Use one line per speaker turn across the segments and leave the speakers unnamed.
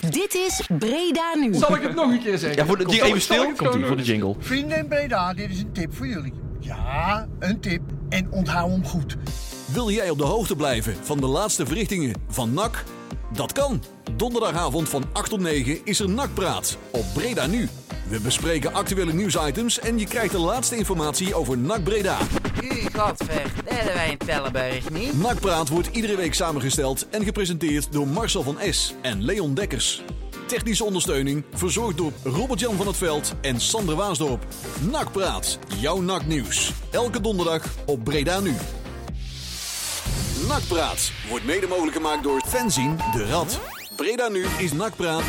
Dit is Breda Nu.
Zal ik het nog een keer zeggen?
Ja, voor de, die
Zal ik-
even
zal ik
stil.
het
Komt ie
gewoon
voor de
doen?
jingle.
Vrienden in Breda, dit is een tip voor jullie. Ja, een tip. En onthoud hem goed.
Wil jij op de hoogte blijven van de laatste verrichtingen van NAC? Dat kan. Donderdagavond van 8 tot 9 is er NAC-praat op Breda Nu. We bespreken actuele nieuwsitems en je krijgt de laatste informatie over NAC Breda.
U, godver, dat hebben wij in Pellenberg niet.
NAC-praat wordt iedere week samengesteld en gepresenteerd door Marcel van Es en Leon Dekkers. Technische ondersteuning verzorgd door Robert-Jan van het Veld en Sander Waasdorp. NAC-praat, jouw NAC-nieuws. Elke donderdag op Breda Nu. NAC-praat wordt mede mogelijk gemaakt door Fanzine de Rad. Breda Nu is NAC-praat.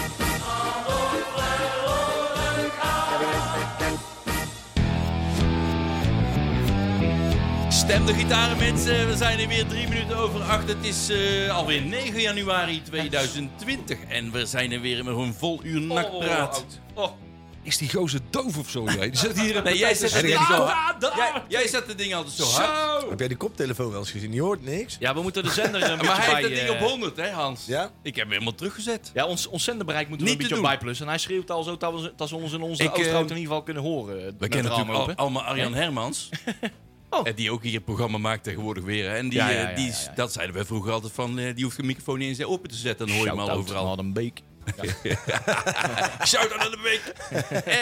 Stem de gitaren mensen, Eh, we zijn er weer drie minuten over acht. Het is eh, alweer 9 januari 2020 en we zijn er weer met een vol uur nakpraat. Oh,
Is die gozer doof of zo? Jij? Die zit hier een
Nee, jij zet het
Heb
ding
jij die
zo
zo-
hard. Jij, jij zet het ding altijd zo hard.
Zo!
Heb jij die koptelefoon wel eens gezien? Die hoort niks.
Ja, we moeten de zender een beetje
Maar hij heeft
bij,
het ding
eh,
op
100 hè Hans?
Ja?
Ik heb hem helemaal teruggezet.
Ja, ons, ons zenderbereik moeten we
Niet
een
te
beetje
doen.
op bijplussen. En hij schreeuwt al zo dat we, dat ze ons in onze
Ik,
auto
eh,
in ieder geval kunnen horen.
We
met
kennen
het raam
natuurlijk al,
open.
allemaal Arjan Hermans.
Oh.
Eh, Die ook hier het programma maakt tegenwoordig weer. hè. En die,
Ja, ja,
eh,
ja, ja,
die,
ja.
is- dat zeiden we vroeger altijd van, eh, die hoeft de microfoon niet eens open te zetten. Dan hoor je hem al
Shout-out
overal.
naar een beek.
Shout-out aan de week. Eh,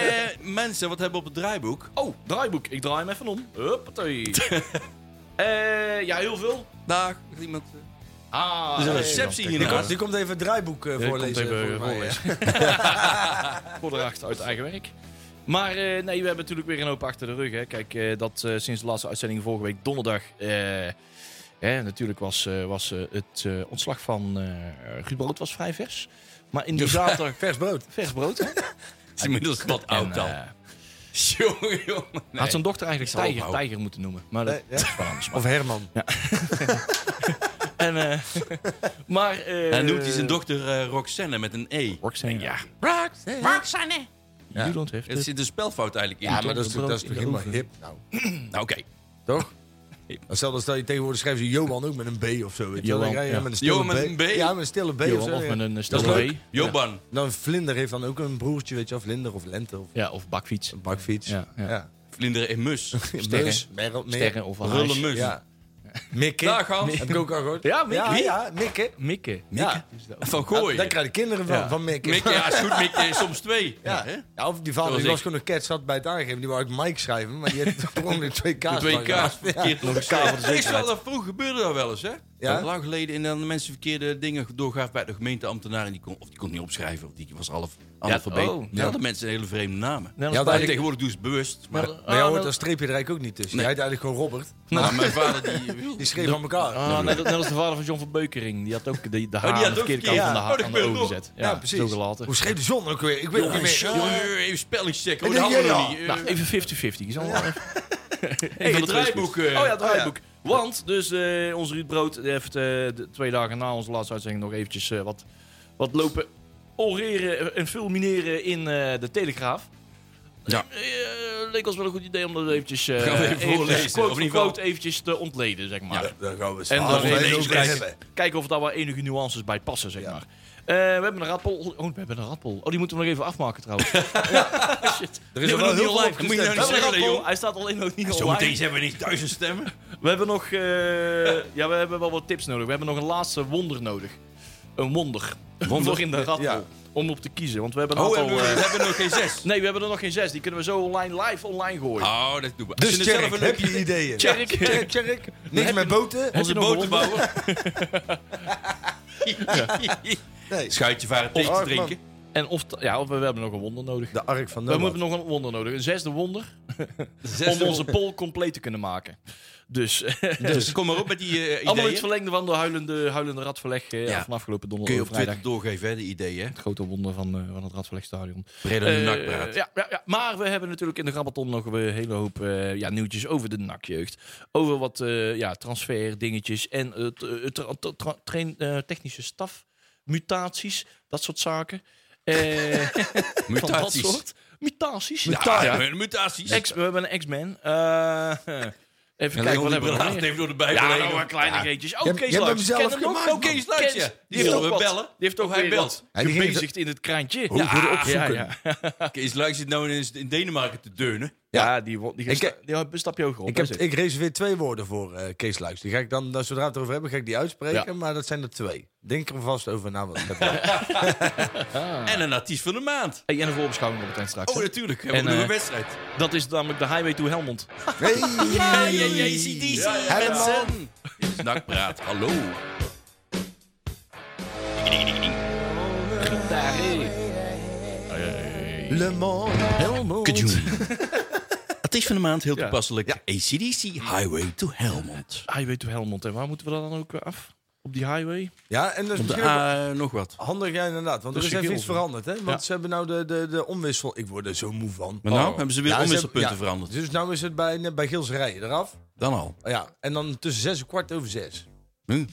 mensen, wat hebben we op het draaiboek?
Oh, draaiboek. Ik draai hem even om. Huppatee. Eh ja, heel veel.
Dag. Iemand,
Ah,
er is een
hey.
receptie
Die,
hiernaast.
komt, die komt even het draaiboek eh,
die
voorlezen.
komt even,
volgens mij,
eh,
hè.
voor de racht uit eigen werk. Maar eh, nee, we hebben natuurlijk weer een hoop achter de rug. Hè. Kijk, eh, dat eh, sinds de laatste uitzending vorige week donderdag. eh, hè, natuurlijk was, eh, was eh, het eh, ontslag van eh Ruud Brood was vrij vers. Maar in die zaterdag...
Vers brood.
Vers brood, hè?
is inmiddels wat oud
En,
Oh, dan.
eh,
jongen, jongen.
Had zijn dochter eigenlijk
Ik zal
tijger,
ophouden.
tijger moeten noemen. Maar dat
Nee, ja.
is wel anders.
Of Herman.
En, eh, maar... eh,
Dan noemt hij zijn dochter eh, Roxanne met een E.
Roxanne. Ja.
Roxanne.
You don't have
Er
to-
zit een spelfout eigenlijk in.
Ja, maar dat is,
brood
toch- dat is
in
toch
de
helemaal
oven.
hip nou.
Nou, oké.
Toch? Hetzelfde stel je tegenwoordig schrijven ze Johan ook met een B of zo. Weet je wel. Dan
Johan,
ga je
ja.
met een stille
Johan met een B?
Ja, met een stille B
Johan
of zo.
of
ja.
met een, eh,
Dat is
stille
leuk.
B.
Joban.
Dan Vlinder heeft dan ook een broertje, weet je wel. Vlinder of Lente of
Ja, of bakfiets.
een bakfiets.
Ja, ja.
Vlinder en mus.
Sterren.
Meus, Merel, Meer.
Sterren of een
Rulle
huis.
mus.
Ja. Mikke.
Dag, Hans.
Heb ik ook al gehoord.
Ja, Mikke.
Ja, ja, Mikke.
Mikke.
Ja.
Van
Daar
Gooien.
daar krijgen de kinderen van,
Ja.
van Mikke.
Mickey, ja, is goed. Mickey, soms twee.
Ja,
hè?
ja, of die vader
Zoals
die was
ik.
gewoon een cat, zat bij het aangeven. Die wou ik Mike schrijven, maar die heeft per ongeluk twee kaas.
De twee
gemaakt.
kaars verkeerd nog Is wel dat vroeg gebeurde dat wel eens, hè?
Ja?
Dat Lang geleden en dan de mensen verkeerde dingen doorgaven bij de gemeenteambtenaar. En die kon, of die kon niet opschrijven, of die was half analfabeet.
oh,
Dan hadden mensen hele vreemde namen.
Net als
Ja,
bij-
dat-
Tegenwoordig doen ze het bewust. Maar,
Maar jij
Ah,
hoort dat streepje er eigenlijk ook niet tussen. Hij heet eigenlijk gewoon Robert.
maar Nou, mijn vader die...
Die schreef aan elkaar.
Ah, net, net als de vader van John van Beukering. Oh, Die had ook de, de
had
haan aan
ook
de verkeerde
verkeerd.
kant van de
Ja.
Oh,
haar
dat
aan de
gebeurt
ogen
nog.
gezet.
Ja, precies.
Zo gelaten.
Hoe schreef de zon ook weer? Ik weet het niet
Jongen,
meer.
jongen, even spelletjes checken. hoor,
En
Dat
dan-
hadden we niet.
ja.
Eh,
Nou, even 50-50. Is allemaal even
Hey,
van
het
de twee
draaiboek.
spoed.
eh,
Oh ja, het draaiboek. Want dus eh, onze Ruud Brood heeft eh, de twee dagen na onze laatste uitzending nog eventjes eh, wat, wat lopen oreren eh, en fulmineren in eh, de Telegraaf.
Ja.
Eh, leek ons wel een goed idee om dat eventjes, eh,
Gaan we even
eventjes
voorlezen,
quote
of
voor
niet wel?
quote eventjes te ontleden, zeg maar.
Ja.
Dan gaan we
En
s'avonds
dan
even
even
over
kijken.
hebben.
Kijken of daar wel enige nuances bij passen, zeg maar. Eh, we hebben een rappel. Oh, we hebben een rappel. Oh, die moeten we nog even afmaken trouwens. Oh, Shit.
Er
Die
is
hebben we nog
er wel heel
niet
veel
live. Moet
We
je nou niet
hebben een
zeggen,
rappel.
joh.
Hij staat alleen nog niet online.
Zometeen zijn oh, we niet duizend stemmen.
We hebben nog. eh, ja, we hebben wel wat tips nodig. We hebben nog een laatste wonder nodig. Een wonder.
Wonder?
Voor in de rat.
Ja.
Om op te kiezen. Want we hebben een
Oh,
aantal.
hebben we
eh,
hebben we nog geen zes.
nee, we hebben er nog geen zes. Die kunnen we zo online, live online gooien.
Oh, dat doen we. Als je
Dus
het zelf
Tjerk,
een
heb
leuk idee-
je ideeën?
Tjerk.
Tjerk, Tjerk. Niks met boten?
Onze
Heb je nog
boten bouwen.
Nee.
Schuitje varen tegen te
Ark,
drinken.
En of, t- ja, of we, we hebben nog een wonder nodig.
De ark van
we hebben
Noah.
nog een wonder nodig. Een zesde wonder.
Zesde
om onze poll compleet te kunnen maken. Dus.
Dus kom maar op met die eh,
Allemaal in
ideeën.
het verlengde van de huilende, huilende ratverleg eh,
Ja.
van afgelopen
Kun
donderdag
je
en
op
vrijdag.
Twitter doorgeven, hè, de ideeën.
Het grote wonder van, eh, van het ratverlegstadion.
Breda de
Eh,
nakpraat.
ja, ja, ja, maar we hebben natuurlijk in de Grabbelton nog een hele hoop eh, ja, nieuwtjes over de nakjeugd. Over wat eh ja, transferdingetjes en eh, t- eh, tra- tra- tra- train- eh, technische staf, mutaties, dat soort zaken. Eh, van dat
Mutaties.
soort. Mutaties.
Ja,
Dus
Ja, ja.
mutaties.
Ex- we hebben een X-Men. Eh, Even
En
kijken, wat
Leon die
hebben we nog
braaf
meer?
heeft door de Bijbel
Ja,
heen.
nou, maar kleine geetjes.
Je
Oh,
hebt-
Kees
je hebt hem
Luiks.
zelf
Ken hem ook.
gemaakt,
Oh, Kees
man.
Luiks,
Kees.
ja.
Die
Die heeft
zullen
ook
we
wat-
bellen.
Die heeft ook
Hij
weer
belt.
wat
Ja, die ging
gebezigd in het krantje.
Hoe goed opzoeken.
Ja, ja.
Kees Luik zit nou in, in Denemarken te deunen.
Ja, die, wo- die,
Ik-
sta- die bestap je hoger op.
Ik, heb,
hè, zeg.
ik reserveer twee woorden voor eh, Kees Luiks. Die ga ik dan, nou, zodra we het erover hebben, ga ik die uitspreken.
Ja.
Maar dat zijn er twee. Denk er vast over na. Wat
En een artiest van de maand.
Hey, en een voorbeschouwing op het eind straks.
Oh,
hè.
natuurlijk. We hebben
En,
nog
eh,
een wedstrijd.
dat is namelijk de Highway to Helmond.
nee.
Ja, ja, ja, ACDC.
Helemaal.
mensen. Dit is Nakpraat. Hallo.
Le Mans.
Artiest van de maand, heel
Ja.
toepasselijk. ACDC Highway to Helmond.
Highway to Helmond. En waar moeten we dan ook eh, af? Op die highway?
Ja, en dat is
Op de
misschien ook
A nog wat.
handig, ja, inderdaad. Want er is
Tussen
even iets
Gilden.
veranderd, hè? Want
Ja.
ze hebben nou de, de, de omwissel... Ik word er zo moe van.
Maar nou hebben ze weer
Ja, ze
omwisselpunten
hebben- ja,
veranderd.
Dus nou is het bij, net bij Gils Rijen eraf.
Dan al.
Ja, en dan tussen zes en kwart over zes.
Hm.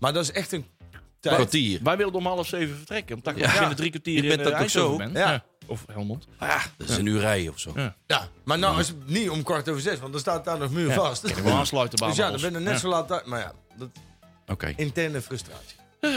Maar dat is echt een tijd.
Kwartier.
Wij wilden om half zeven vertrekken. Om tachtig ja. binnen drie kwartier
Je bent
in,
dat
eh,
toch zo?
Eindhoven bent.
Ja.
Of Helmond.
Dat is een uur rijden of zo.
Ja.
Ja, maar nou is het niet om kwart over zes, want dan staat daar nog muur vast.
Ik wil aansluiten bij
Dus ja,
Amos.
dan ben je net
Ja.
zo laat uit. Maar ja, dat
Oké.
interne frustratie.
Eh,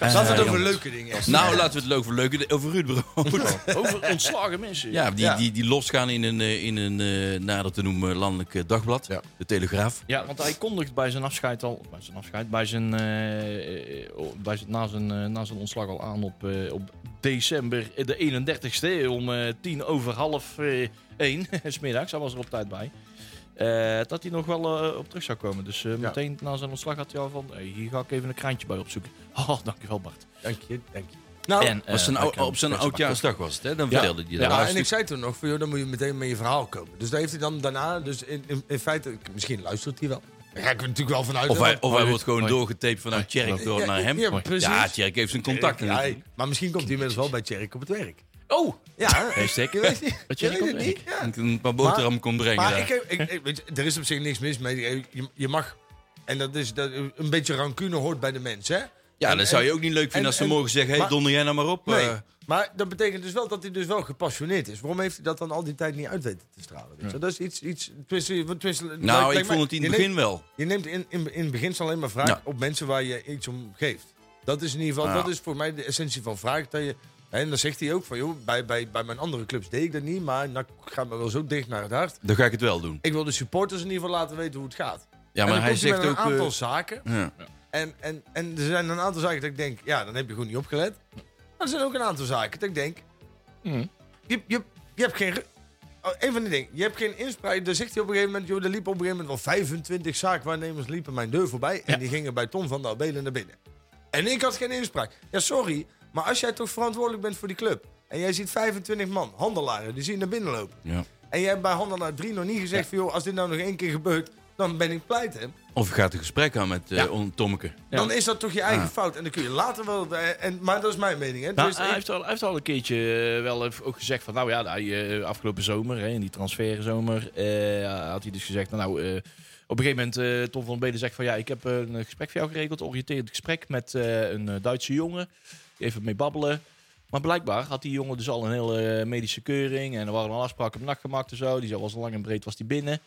Laten we het over
jongens.
leuke dingen hebben.
Nou, laten we het leuk verleuken. Over Ruud Brood.
Over ontslagen mensen.
Ja, die,
Ja.
Die, die losgaan in een, eh, in een eh, nader te noemen landelijk eh, dagblad.
Ja.
De Telegraaf.
Ja, want hij kondigt bij zijn afscheid al, bij zijn afscheid, bij zijn, eh, eh, oh, bij zijn, na, zijn, eh, na zijn ontslag al aan op, eh, op december eh, de 31ste om eh, tien over half eh, één, smiddags, hij was er op tijd bij, eh, dat hij nog wel eh, op terug zou komen. Dus eh, meteen na zijn ontslag had hij al van, hey, hier ga ik even een kraantje bij opzoeken. Oh, dankjewel Bart.
Dank je, dank je. Nou, en,
eh,
was zijn,
hij
ou-
kan-
op zijn
kan ze
oudjaarsdag was het, hè? Dan
Ja.
vertelde hij
Ja,
dat.
ja,
Hij
Ah, en
stuk-
ik zei toen nog, van, joh, dan moet je meteen met je verhaal komen. Dus daar heeft hij dan daarna, dus in, in, in feite, misschien luistert hij wel. Daar ga ik er natuurlijk wel vanuit.
of hij,
want-
of hij wordt gewoon
Hoi.
doorgetaped vanuit Tjerk door
Ja,
naar hem.
ja, precies.
Ja, Tjerk heeft zijn contacten.
Ja,
natuurlijk.
hij- maar misschien komt hij inmiddels wel bij Tjerk op het werk.
Oh!
Ja,
Hashtag.
je weet, je
Bij Tjerk
weet
op
het
het
niet. Ja.
Ik een paar boterham kon brengen.
Maar
daar.
ik, heb- ik, ik- weet je, er is op zich niks mis mee. Je, je mag, en dat is dat, een beetje rancune hoort bij de mens, hè?
ja,
En-
dat zou je
en-
ook niet leuk vinden
en-
als ze
en-
mogen zeggen: hé, hey,
maar-
donder jij nou maar op.
Nee,
eh.
maar dat betekent dus wel dat hij dus wel gepassioneerd is. Waarom heeft hij dat dan al die tijd niet uit weten te stralen? weet je? Dat is iets... iets tenminste, tenminste, lijkt-
Nou,
lijkt
ik
mij-
vond het in
je
het
neemt-
begin wel.
Je neemt in, in, in het begin alleen maar vraag
Ja.
op mensen waar je iets om geeft. Dat is in ieder geval,
Ja.
dat is voor mij de essentie van vraag. Dat je, en dan zegt hij ook van, joh, bij, bij, bij mijn andere clubs deed ik dat niet, maar nou gaat me wel zo dicht naar het hart.
Dan ga ik het wel doen.
Ik wil de supporters in ieder geval laten weten hoe het gaat.
Ja, maar
en dan
hij
komt
zegt
met
ook.
een aantal
eh,
zaken.
ja.
En, en, en er zijn een aantal zaken dat ik denk, ja, dan heb je goed niet opgelet. Maar er zijn ook een aantal zaken dat ik denk,
Mhm.
je, je, je hebt geen... Oh, een van die dingen, je hebt geen inspraak. Daar zegt hij op een gegeven moment, joh, er liepen op een gegeven moment wel 25 zaakwaarnemers liepen mijn deur voorbij. En die gingen bij Tom van der Abelen naar binnen. En ik had geen inspraak. Ja, sorry, maar als jij toch verantwoordelijk bent voor die club. En jij ziet 25 man, handelaren, die zien naar binnen lopen.
Ja.
En jij hebt bij handelaar 3 nog niet gezegd van, joh, als dit nou nog één keer gebeurt, dan ben ik pleiten.
Of je gaat een gesprek aan met eh on- Tommeke.
Ja.
Dan is dat toch je eigen
Ah.
fout. En dan kun je later wel. eh, En, maar dat is mijn mening. Hè?
Nou,
Dus
hij,
ik-
heeft al, hij heeft al een keertje eh, wel even ook gezegd van, nou ja, hij, eh, afgelopen zomer, hè, in die transferzomer, eh, had hij dus gezegd, nou, eh, op een gegeven moment, eh, Tom van Beden zegt van, ja, ik heb eh, een gesprek voor jou geregeld, oriënterend gesprek met eh, een eh, Duitse jongen, even mee babbelen. Maar blijkbaar had die jongen dus al een hele eh, medische keuring en er waren al afspraken op nacht gemaakt en zo, die zou was lang en breed was die binnen.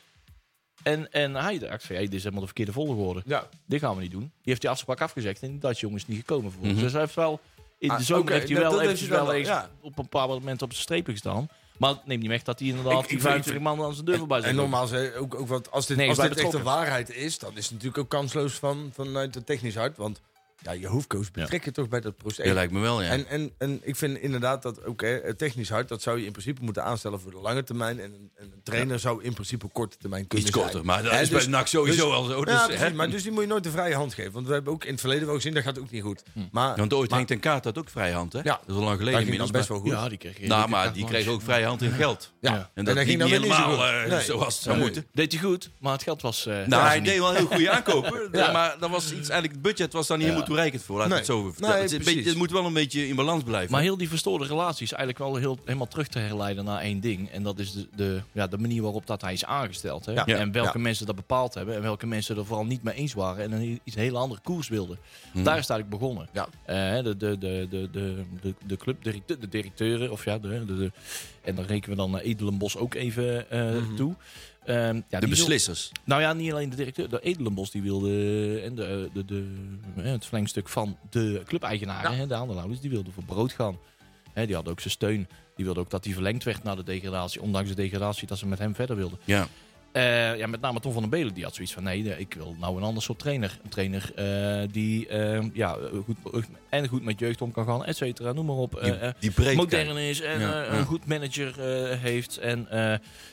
En, en hij dacht van, hey, dit is helemaal de verkeerde volgorde.
ja.
Dit gaan we niet doen. Die heeft die afspraak afgezegd en die Duitse jongen is niet gekomen voor ons.
Mhm.
Dus hij heeft wel in de
Ah,
zomer
oké,
heeft hij
dat-
wel
dat
eventjes
heeft hij
wel
wel,
eens
ja.
op een paar momenten op de strepen gestaan. Maar het neemt niet weg dat hij
Ik-
inderdaad
ik
die
vind-
25 man aan zijn deur voorbij
En
zijn.
normaal zeg, ook, ook wat, als dit,
Nee,
als
wij
dit echt de
betrokken.
waarheid is, dan is het natuurlijk ook kansloos van, vanuit het technisch hart. Want ja, je hoofdcoach betrek je toch bij dat proces.
Ja, lijkt me wel, ja.
En, en, en ik vind inderdaad dat ook hè, het technisch hart, dat zou je in principe moeten aanstellen voor de lange termijn. En een, een trainer zou in principe korte termijn kunnen
Iets
zijn.
korter, maar dat
Hè,
is bij NAC sowieso
dus-
al zo. Dus,
ja,
hè.
precies, maar dus die moet je nooit de vrije hand geven. Want we hebben ook in het verleden wel gezien, dat gaat ook niet goed. Maar,
Hm. Want ooit
maar,
hangt een kaart dat ook vrijhand, hè?
Ja.
Dat is al lang
dat
geleden
ging dan
inmiddels.
best
maar-
wel goed.
Ja, die kreeg
Nou, maar die kreeg ook vrijhand in geld.
Ja.
Ja.
En dat
dan
ging niet
dat weer niet zo
helemaal
goed.
eh,
Nee.
zoals het zou
Nee.
moeten.
Deed hij goed, maar het geld was... eh,
Nou,
was
hij
er niet.
deed wel heel goede aankopen.
Ja.
Maar dat was iets, eigenlijk het budget was daar niet helemaal toereikend voor. Laat ik
Nee.
het zo even
Nee,
vertellen. het, is een
precies.
beetje- het moet wel een beetje in balans blijven.
Maar heel die verstoorde relatie is eigenlijk wel heel, helemaal terug te herleiden naar één ding. En dat is de, de, ja, de manier waarop dat hij is aangesteld. Hè?
Ja.
En welke
Ja.
mensen dat bepaald hebben. En welke mensen er vooral niet mee eens waren. En een, heel- iets hele andere koers wilden. Daar is het eigenlijk begonnen.
Hmm. Ja.
Eh, de, de, de, de, de, de, de club, directe-
Hmm.
de directeuren. Of ja, de, de, de- en dan rekenen we dan naar Edelenbos ook even eh, toe. Ehm, ja, die
De
wil-
beslissers.
nou ja, niet alleen de directeur. De Edelenbos die wilde. eh, En de, de, de, hè, het verlengstuk van de clubeigenaren, hè, de aandeelhouders, die wilden voor brood gaan. Hè, die hadden ook zijn steun. Die wilden ook dat die verlengd werd na de degradatie. Ondanks de degradatie dat ze met hem verder wilden.
Ja.
Eh, ja, met name Tom van der Belen, die had zoiets van... nee, nee, ik wil nou een ander soort trainer. Een trainer eh, die eh, ja, goed, en goed met jeugd om kan gaan, et cetera, noem maar op. Eh, eh,
Die breed
modern is en
Ja,
eh,
ja.
een goed manager eh, heeft. En, eh,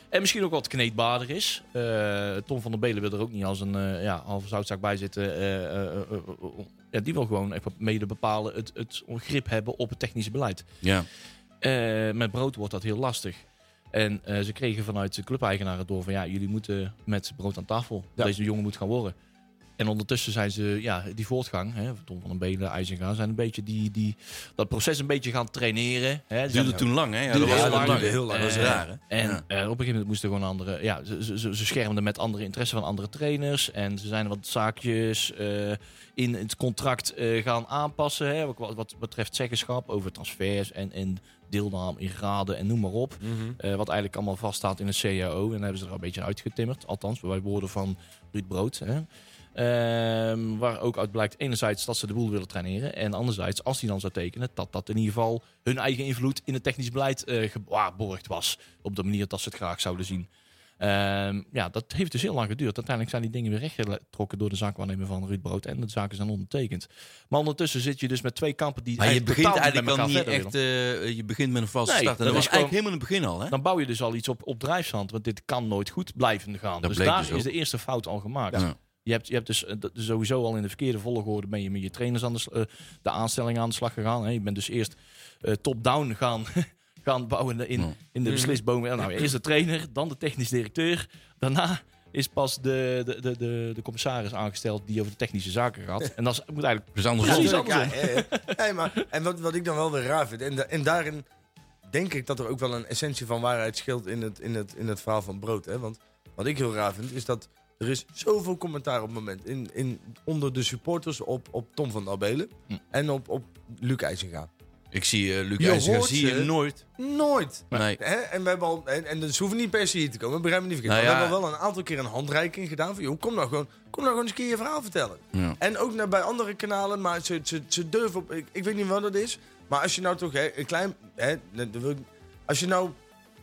en misschien ook wat kneedbaarder is. Eh, Tom van der Belen wil er ook niet als een eh ja, halve zoutzak bij zitten. eh, eh, eh, eh, ja, die wil gewoon even mede bepalen het, het grip hebben op het technische beleid.
Ja.
Eh, met brood wordt dat heel lastig. En eh, ze kregen vanuit de clubeigenaren door van ja, jullie moeten met brood aan tafel. Deze jongen moet gaan worden. En ondertussen zijn ze, ja, die voortgang, hè, Tom van den Belen, IJzinga, zijn een beetje die, die, dat proces een beetje gaan traineren. Hè. Ze zijn-
Duurde toen lang, hè? Ja,
Duurde
dat was
heel lang.
lang.
Duurde heel lang.
Dat is
Eh,
raar, hè?
En eh,
Ja.
op een gegeven moment moesten gewoon andere. Ja, ze, ze- ze, ze schermden met andere interesse van andere trainers. En ze zijn wat zaakjes eh, in het contract eh, gaan aanpassen. Hè, wat, wat- wat betreft zeggenschap over transfers en, en deelname in graden en noem maar op.
Mhm.
Eh, wat eigenlijk allemaal vaststaat in een CAO. En daar hebben ze er een beetje uitgetimmerd. Althans, bij woorden van Ruud Brood. Hè. Ehm, waar ook uit blijkt enerzijds dat ze de boel willen traineren. En anderzijds, als die dan zou tekenen, dat dat in ieder geval hun eigen invloed in het technisch beleid eh, gewaarborgd was. Op de manier dat ze het graag zouden zien. Ehm, ja, dat heeft dus heel lang geduurd. Uiteindelijk zijn die dingen weer rechtgetrokken door de zaakwaarnemer van Ruud Brood. En de zaken zijn ondertekend. Maar ondertussen zit je dus met twee kampen die
Maar je begint
totaal
eigenlijk
met
al
elkaar
niet
verder
echt...
willen.
eh, je begint met een vaste
Nee,
start. En
dat
dat was
is gewoon-
eigenlijk helemaal in het begin al, hè?
Dan bouw je dus al iets op, op drijfzand. Want dit kan nooit goed blijven gaan.
Dat
dus
bleek
daar
dus ook.
is de eerste fout al gemaakt.
Ja.
Je hebt, je hebt dus eh, dat- sowieso al in de verkeerde volgorde ben je met je trainers aan de, s- eh, de aanstelling aan de slag gegaan. Hè. Je bent dus eerst eh, top-down gaan, gaan bouwen in,
Ja.
in de beslisboom. En Nou, eerst de trainer, dan de technisch directeur. Daarna is pas de, de, de, de, de commissaris aangesteld die over de technische zaken gaat. En dat is- moet eigenlijk
Dus
precies
andersom.
andersom.
Ja, ja, ja. Nee, maar, en wat, wat ik dan wel weer raar vind, en, da- en daarin denk ik dat er ook wel een essentie van waarheid scheelt in het, in het, in het verhaal van Brood. Hè? Want wat ik heel raar vind, is dat er is zoveel commentaar op het moment in, in, onder de supporters op, op Tom van Abelen
Hm.
en op, op Luc IJzinga.
Ik zie eh Luc
Je
IJzinga
hoort
zie
ze.
je nooit.
Nooit!
Nee.
Hè? En, we hebben al, en, en dus hoeven niet per se hier te komen, begrijp me niet verkeerd.
Nou
maar
ja.
We hebben al wel een aantal keer een handreiking gedaan van... joh, kom nou gewoon, kom nou gewoon eens een keer je verhaal vertellen.
Ja.
En ook naar, bij andere kanalen, maar ze, ze, ze durven op... Ik, ik weet niet wat dat is, maar als je nou toch hè, een klein... Hè, dat wil ik- als je nou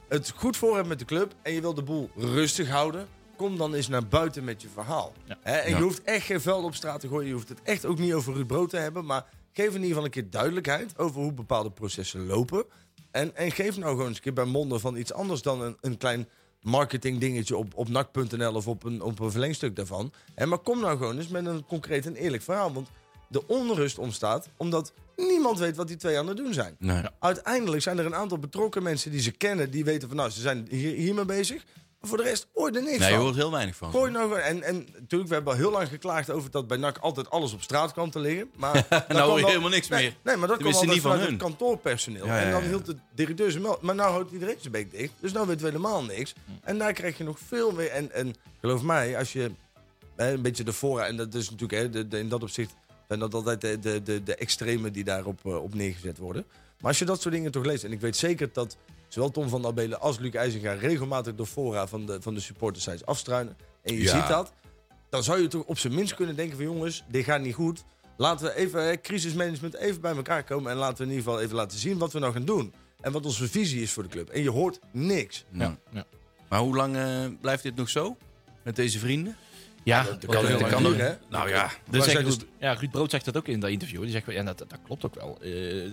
het goed voor hebt met de club en je wil de boel rustig houden... kom dan eens naar buiten met je verhaal.
Ja.
Hè, en
Ja.
je hoeft echt geen vuil op straat te gooien. Je hoeft het echt ook niet over Ruud Brood te hebben, maar... Geef in ieder geval een keer duidelijkheid over hoe bepaalde processen lopen. En, en geef nou gewoon eens een keer bij monden van iets anders dan een, een klein marketing dingetje op, op nak.nl of op een, op een verlengstuk daarvan. En maar kom nou gewoon eens met een concreet en eerlijk verhaal. Want de onrust ontstaat omdat niemand weet wat die twee aan het doen zijn.
Nee.
Uiteindelijk zijn er een aantal betrokken mensen die ze kennen, die weten van nou, ze zijn hier, hiermee bezig. Maar voor de rest ooit er niks
Nee, je
van.
hoort heel weinig van.
Gooi nou gewoon. En, en natuurlijk, we hebben al heel lang geklaagd over dat bij NAC altijd alles op straat kwam te liggen. Maar dat kwam
Nou, hoor je
wel-
helemaal niks
nee,
meer.
Nee, maar dat kwam
Tenminste,
altijd
niet van
vanuit het
hun.
kantoorpersoneel.
Ja, ja,
En dan
ja.
hield de directeur zijn meld. Maar nou houdt iedereen zijn bek dicht. Dus nou weten we helemaal niks. En daar krijg je nog veel meer. En, en geloof mij, als je hè, een beetje de fora... En dat is natuurlijk hè, de, de- in dat opzicht zijn dat altijd de, de, de, de extremen die daarop eh, op neergezet worden. Maar als je dat soort dingen toch leest... En ik weet zeker dat zowel Tom van der Belen als Luc IJzinga... regelmatig de fora van de, van de supportersites afstruinen. En je
Ja.
ziet dat. Dan zou je toch op zijn minst kunnen denken van... jongens, dit gaat niet goed. Laten we even hè, crisismanagement even bij elkaar komen... en laten we in ieder geval even laten zien wat we nou gaan doen. En wat onze visie is voor de club. En je hoort niks.
Nou.
Ja.
Maar hoe lang eh, blijft dit nog zo? Met deze vrienden?
Ja,
dat kan- dat kan ook, hè?
Nou ja.
Dus
Maar
zegt
zij
Ruud, ja, Ruud Brood zegt dat ook in dat interview. Die zegt, wel- en dat, dat klopt ook wel. Eh,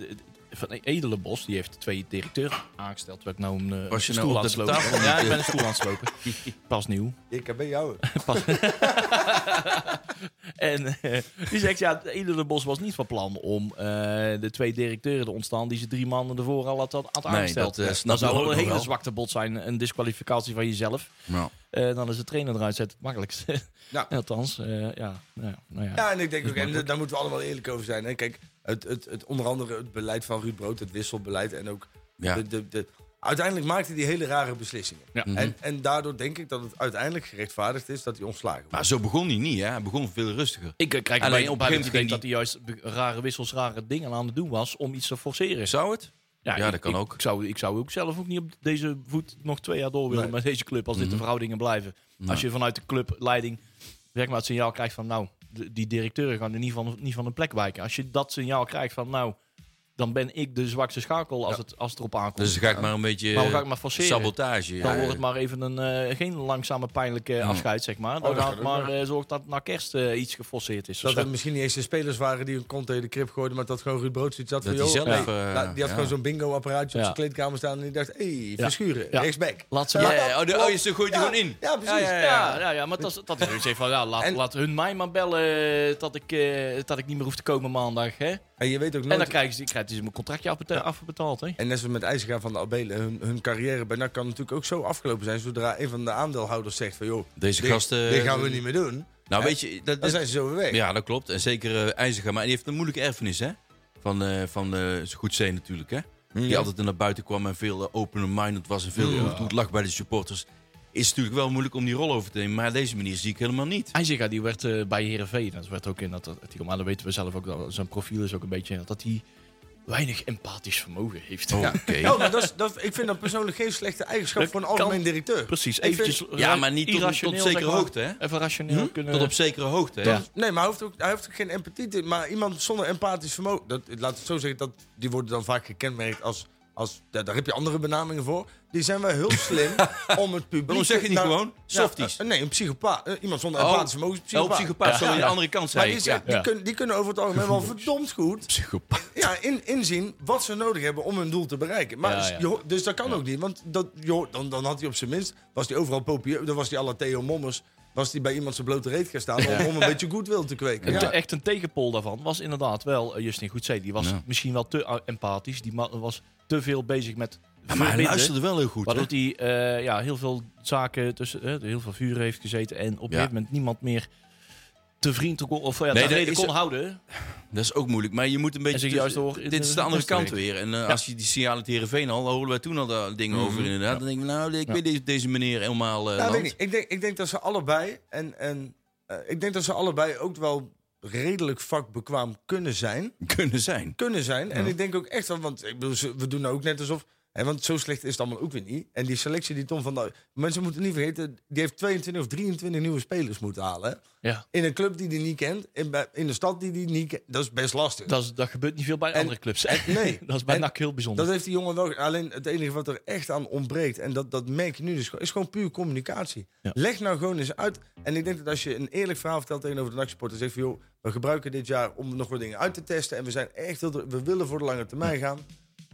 van Edelenbos, die heeft twee directeuren aangesteld. Werd nou een eh,
Was je nou
stoel aan
op
het
de
slopen.
tafel?
Ja, ik ben een stoel aan het slopen. Pas nieuw.
Ik heb bij jou.
En eh, die zegt, ja, Edelenbos was niet van plan om eh, de twee directeuren te ontstaan... die ze drie maanden ervoor al had, had aangesteld.
dat, eh, snap
zou
ik
wel
ook
een
nog
hele
wel.
zwakte bot zijn. Een disqualificatie van jezelf.
Nou.
Eh, dan is de trainer eruit zetten het makkelijkste.
Nou.
Althans, eh, ja, nou ja, nou ja.
Ja, en ik denk ook, en daar moeten we allemaal eerlijk over zijn. Hè. Kijk, het, het, het, onder andere het beleid van Ruud Brood, het wisselbeleid en ook...
Ja.
De, de, de, uiteindelijk maakte hij hele rare beslissingen.
Ja.
Mhm.
En, en daardoor denk ik dat het uiteindelijk gerechtvaardigd is dat hij ontslagen wordt.
Maar zo begon hij niet, hè? Hij begon veel rustiger.
Ik eh, krijg
Alleen
alleen
op
op
een
het
gegeven
idee dat
moment
hij juist be- rare wissels, rare dingen aan het doen was om iets te forceren.
Zou het?
Ja,
Ja,
ik-
dat kan
ik,
ook.
Ik zou, ik zou ook zelf ook niet op deze voet nog twee jaar door willen
Nee.
met deze club. Als dit de verhoudingen blijven. Als je vanuit de clubleiding zeg maar, het signaal krijgt van... nou, de- die directeuren gaan er niet van, niet van hun plek wijken. Als je dat signaal krijgt van... nou, dan ben ik de zwakste schakel als, het, als het erop aankomt.
Dus dan ga ik maar een beetje
Maar dan ga ik
eh,
maar forceren.
sabotage. ja.
dan wordt het maar even een, eh, geen langzame pijnlijke afscheid, zeg maar. Dan
dat
gaat
kan
het
ook,
maar eh, zorgt dat na kerst eh, iets geforceerd is.
Dat
Of
het
zo.
misschien niet eens de spelers waren die een kont tegen de krip gooiden, maar dat gewoon Ruud Broodstuits zat
Dat
van,
hij
joh,
zelf,
nee.
eh,
Nou, die had
ja.
gewoon zo'n bingo-apparaatje
Ja.
op zijn kleedkamer staan en die dacht, hé, hey,
Ja.
verschuren,
Ja.
rechtsback.
Laat ze
Ja,
maar...
ja, ja. Oh, de- oh, je gooit die
Ja,
gewoon in.
Ja, precies.
Ja, ja, ja, ja, maar dat, is- dat is zoiets van, ja, laat,
En-
laat hun mij maar bellen eh, dat ik, eh, dat ik niet meer hoef te komen maandag. Hè?
En je weet ook
En dan
nooit...
krijgen ze, krijgen ze mijn contractje afbeta- afbetaald. Hè?
En net zoals met IJzerga van de Abelen, hun, hun carrière bij NAC kan natuurlijk ook zo afgelopen zijn. Zodra een van de aandeelhouders zegt van, joh,
Deze
dit-
gasten-
dit gaan we niet meer doen.
Nou,
Hè?
weet je, dat,
Dan
dat-
zijn ze zo weer weg.
ja, dat klopt. En zeker eh, IJzerga. Maar die heeft een moeilijke erfenis, hè? Van, eh van eh Goedzee natuurlijk, hè? Die altijd naar buiten kwam en veel eh, open-minded was en veel goed goed lag bij de supporters. Is natuurlijk wel moeilijk om die rol over te nemen, maar deze manier zie ik helemaal niet.
Einziga, die werd eh, bij Heerenveen, dat werd ook in dat artikel, maar dat weten we zelf ook, dat zijn profiel is ook een beetje dat hij weinig empathisch vermogen heeft.
Oh,
Ja,
Oké.
Oh, maar dat is, dat, ik vind dat persoonlijk geen slechte eigenschap
Dat
voor een
kan-
algemeen directeur.
precies.
Ik
Eventjes
vind-
Ja, maar niet tot-
irrationeel,
tot zekere
zeg maar.
hoogte, hè?
Even rationeel kunnen...
Hm? Tot op zekere hoogte, hè?
Ja.
Nee, maar hij heeft, ook, hij heeft ook geen empathie. te- Maar iemand zonder empathisch vermogen, dat, laat het zo zeggen, dat, die worden dan vaak gekenmerkt als... als daar, daar heb je andere benamingen voor. Die zijn wel heel slim om het publiek...
Waarom zeg je niet
nou-
gewoon?
Ja,
Softies.
eh, nee, een psychopaat. Eh, iemand zonder
Oh,
empathisch vermogen is een
Oh,
psychopaat.
psychopaat. Sorry, aan de andere kant
Maar
zei
die,
ik.
zijn-
Ja.
die,
Ja.
kunnen, die kunnen over het algemeen wel verdomd goed
Psychopaat.
ja, in, inzien wat ze nodig hebben om hun doel te bereiken. Maar,
Ja, ja.
je ho- Dus dat kan ook niet. Want dat, joh, dan, dan had hij op zijn minst, was hij overal populair. Dan was hij alle Theo Mommers, was hij bij iemand zijn blote reet gaan staan om, om een beetje goodwill te kweken.
Een te-
Ja.
Echt een tegenpol daarvan was inderdaad wel eh, Justin Goedzee. Die was
Ja.
misschien wel te eh, empathisch. Die ma- was te veel bezig met
Maar hij
verbinden,
luisterde wel heel goed, hè?
Waardoor hij eh, ja, heel veel zaken tussen eh, heel veel vuren heeft gezeten. En op een gegeven moment niemand meer te vriendelijk kon- of ja,
Nee,
te
dat
reden
is-
kon houden.
Dat is ook moeilijk, maar je moet een beetje...
En zich juist
tussen-
door in
dit
de
is de andere
wedstrijd.
kant weer. En eh, als je die signalen tegen Veen al, daar horen wij toen al daar dingen over inderdaad. Dan denk ik, nou, ik weet deze, deze meneer helemaal eh
Nou, weet ik,
land.
niet. ik, denk, ik denk dat ze allebei, en, en eh, ik denk dat ze allebei ook wel redelijk vakbekwaam kunnen zijn.
kunnen zijn.
Kunnen zijn. En ik denk ook echt wel, want ik bedoel, ze- we doen nou ook net alsof. Hè, want zo slecht is het allemaal ook weer niet. En die selectie die Tom van Dijk... Mensen moeten niet vergeten, die heeft 22 of 23 nieuwe spelers moeten halen. hè.
Ja,
In een club die hij niet kent, in, bij- in een stad die hij niet kent, dat is best lastig. Dat,
dat, is- dat gebeurt niet veel bij andere clubs.
nee.
dat is bij
En-
NAC heel bijzonder.
heeft die jongen wel. Alleen het enige wat er echt aan ontbreekt, en dat, dat merk je nu dus, gewoon- is gewoon puur communicatie.
Ja.
Leg nou gewoon eens uit. En ik denk dat als je een eerlijk verhaal vertelt tegenover de NAC-supporters, zeg van joh, we gebruiken dit jaar om nog wat dingen uit te testen. En we zijn echt heel, we willen voor de lange termijn gaan.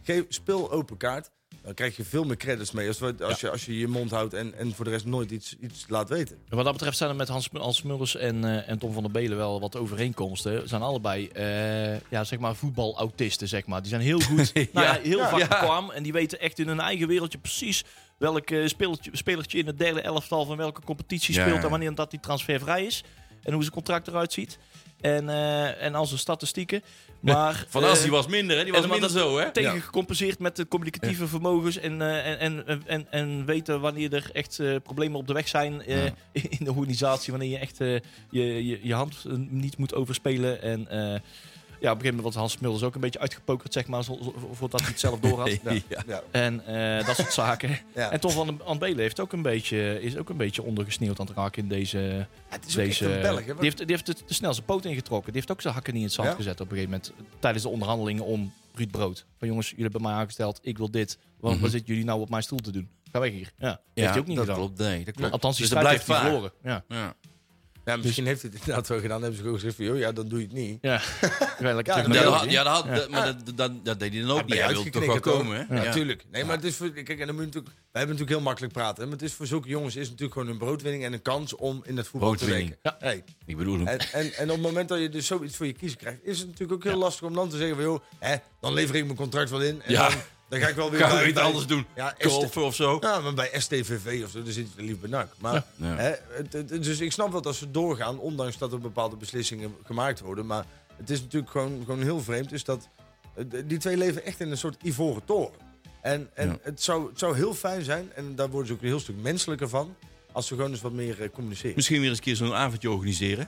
Geef, speel open kaart. Dan krijg je veel meer credits mee als, we- als, je, als je je mond houdt en, en voor de rest nooit iets, iets laat weten.
En Wat dat betreft zijn er met Hans, Hans Mulders en, eh, en Tom van der Belen wel wat overeenkomsten. Ze zijn allebei eh, ja, zeg maar voetbalautisten, zeg maar. Die zijn heel goed, nou ja, heel vakbekwaam. En die weten echt in hun eigen wereldje precies welk eh, spelertje, spelertje in het derde elftal van welke competitie
Ja,
speelt.
ja.
En wanneer dat die transfervrij is. En hoe zijn contract eruit ziet. En, eh, en al zijn statistieken. Maar,
Van als
eh,
die was minder, hè? Die
en
was
dan
minder
dat
zo, hè?
Tegen gecompenseerd met de communicatieve vermogens en, eh, en, en, en, en, en weten wanneer er echt eh, problemen op de weg zijn eh, in de organisatie. Wanneer je echt eh, je, je, je hand eh, niet moet overspelen. En eh, ja, op een gegeven moment was Hans Mulders ook een beetje uitgepokerd, zeg maar, zo- zo- voordat hij het zelf door had.
Ja.
Ja.
En eh, dat soort zaken.
Ja.
En Tom van den Belen heeft ook een beetje, is ook een beetje ondergesneeuwd aan het raken in deze...
Het is ook
deze
echt een Belg, hè,
die
want-
heeft, die heeft de, de snelste poot ingetrokken. Die heeft ook zijn hakken niet in het zand
Ja?
gezet op een gegeven moment. Tijdens de onderhandelingen om Ruud Brood. Van jongens, jullie hebben mij aangesteld. Ik wil dit. Wat, wat zitten jullie nou op mijn stoel te doen? Ga weg hier. Ja, heeft hij ook niet
Mhm. dat
gedaan.
Klopt, nee, dat klopt.
Althans, die
Dus dat
strijd heeft hij
blijft
verloren. Ja.
vaag. Ja.
Ja, misschien heeft hij het inderdaad wel gedaan. Hebben ze gewoon gezegd van, joh, ja, dan doe je het niet.
Ja, Ik ben lekker
Ja,
terug
Ja,
naar
dat,
jou,
had-
hè?
ja, dat, had- dat- maar dat, dat, dat deed hij dan ook niet.
ben je
Hij wilde toch wel
uitgeknikkerd,
komen, hè? Ja.
Natuurlijk. Nee, maar het is voor, kijk, en dan moet je natuurlijk, wij hebben natuurlijk heel makkelijk praten. hè, Maar het is voor zulke jongens is natuurlijk gewoon een broodwinning en een kans om in het voetbal te
Broodwinning.
werken. Hey,
Ik bedoel hem.
en, en, en op het moment dat je dus zoiets voor je kiezen krijgt, is het natuurlijk ook heel lastig om dan te zeggen van, joh, hè, dan lever ik mijn contract wel in. En
Ja.
dan, dan ga ik wel weer
Gaan
bij-
we iets
eh, bij-
anders doen?
Ja, is de-
Golf of zo?
ja, maar bij STVV of zo, daar zit je liever bij NAC. Maar,
Ja.
Hè, het, het- het- dus ik snap wel dat ze doorgaan, ondanks dat er bepaalde beslissingen gemaakt worden. Maar het is natuurlijk gewoon, gewoon heel vreemd. Is dat, eh, d- die twee leven echt in een soort ivoren toren. En, en
Ja.
het, zou, het zou heel fijn zijn, en daar worden ze ook een heel stuk menselijker van, als ze gewoon eens wat meer eh, communiceren.
Misschien weer eens een keer zo'n avondje organiseren.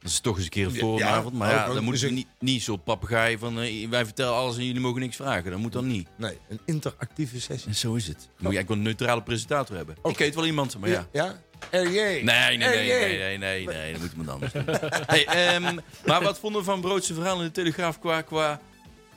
Dat is toch eens een keer een
Ja,
vooravond. Maar
ook
ja,
wel.
dan moet
Dus
je
een-
niet, niet zo'n papegaai van eh, wij vertellen alles en jullie mogen niks vragen. Dat moet dan niet.
Nee, een interactieve sessie.
En zo is het. Dan moet je eigenlijk wel een neutrale presentator hebben. Ik weet wel iemand, maar ja.
Ja? RJ.
Nee, nee, nee,
RJ.
nee, nee, nee, nee, dat moet iemand anders doen. Hey, ehm, maar wat vonden we van Broodse verhaal in de Telegraaf qua, qua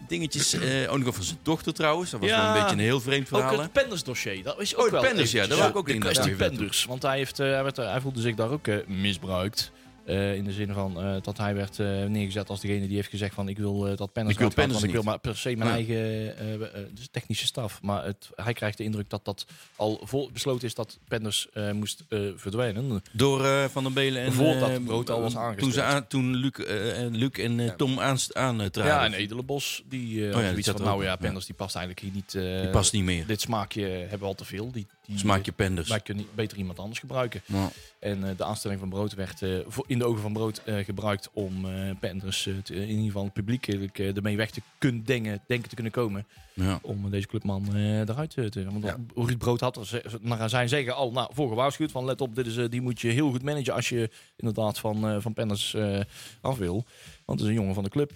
dingetjes? eh, ook nog over zijn dochter trouwens, dat was
Ja.
wel een beetje een heel vreemd verhaal.
Ook
hè?
het Penders-dossier. Dat is ook
Oh, het
wel
Penders, ja,
eventjes,
daar wou ik ook
de
inderdaad
kwestie
even
Penders. Want hij, heeft, eh, hij, werd, eh, hij voelde zich daar ook eh, misbruikt. Eh, in de zin van eh, dat hij werd eh, neergezet als degene die heeft gezegd van ik wil eh, dat Penders
Ik wil
eruit gaat,
Penders
want ik wil
niet.
maar per se mijn
Ja.
eigen eh, eh, dus technische staf. Maar het, hij krijgt de indruk dat dat al vol besloten is dat Penders eh, moest eh, verdwijnen.
Door eh, Van den Belen en...
Voordat
eh,
Brood al was
Toen,
aangesteld.
ze aan, toen Luc, eh, en Luc en eh, Tom aanst- aantraden.
Ja, en Edelenbos die eh,
Oh ja,
had
die
zoiets
zat
van
er ook
nou ja,
in. Ja.
Penders die past eigenlijk hier niet. eh,
Die past niet meer.
Dit smaakje hebben we al te veel. Die, die,
Smaak je penders.
Wij kunnen niet- beter iemand anders gebruiken.
Nou,
En eh, de aanstelling van Brood werd eh, voor- in de ogen van Brood eh, gebruikt om eh Penders eh, te- in ieder geval publiekelijk eh, ermee weg te kunnen denken, denken te kunnen komen.
ja.
Om deze clubman eh, eruit eh, te... Want Ruud Brood had er ze- naar zijn zeggen al nou, voor gewaarschuwd van let op, dit is, eh, die moet je heel goed managen als je inderdaad van, eh, van Penders eh, af wil. Want het is een jongen van de club eh,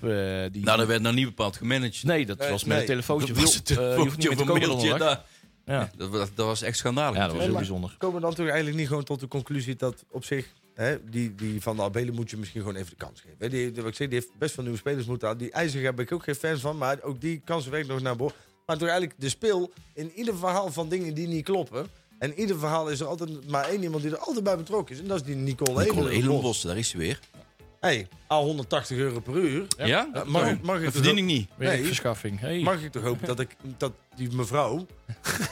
die...
Nou, dat werd nou niet bepaald gemanaged.
Nee, dat
Nee,
was met een
nee.
telefoontje.
Dat
Wil-
was het
eh, je hoeft niet meer te
telefoontje
komen
of een mailtje.
donderdag.
daar.
Ja.
Dat, was- dat was echt schandalig.
ja, dat was heel
maar-
bijzonder.
Komen we dan toch eigenlijk niet gewoon tot de conclusie dat op zich... Hè, die, die van de Abelen moet je misschien gewoon even de kans geven. Hè, Die, die- wat ik zeg, die heeft best veel nieuwe spelers moeten halen. Die IJzer heb ik ook geen fans van, maar ook die kansen werkt nog naar boven. Maar toch eigenlijk de speel in ieder verhaal van dingen die niet kloppen. En in ieder verhaal is er altijd maar één iemand die er altijd bij betrokken is. En dat is die Nicole,
Nicole
Edelenbos.
Edelenbos, daar is ze weer.
Hey, al 180 euro per uur.
Ja? Dat,
mag ik-
oh,
mag ik
dat
het
verdien
ook-
ik niet.
Nee.
Werkverschaffing. Hey.
Mag ik toch hopen dat, ik, dat die mevrouw...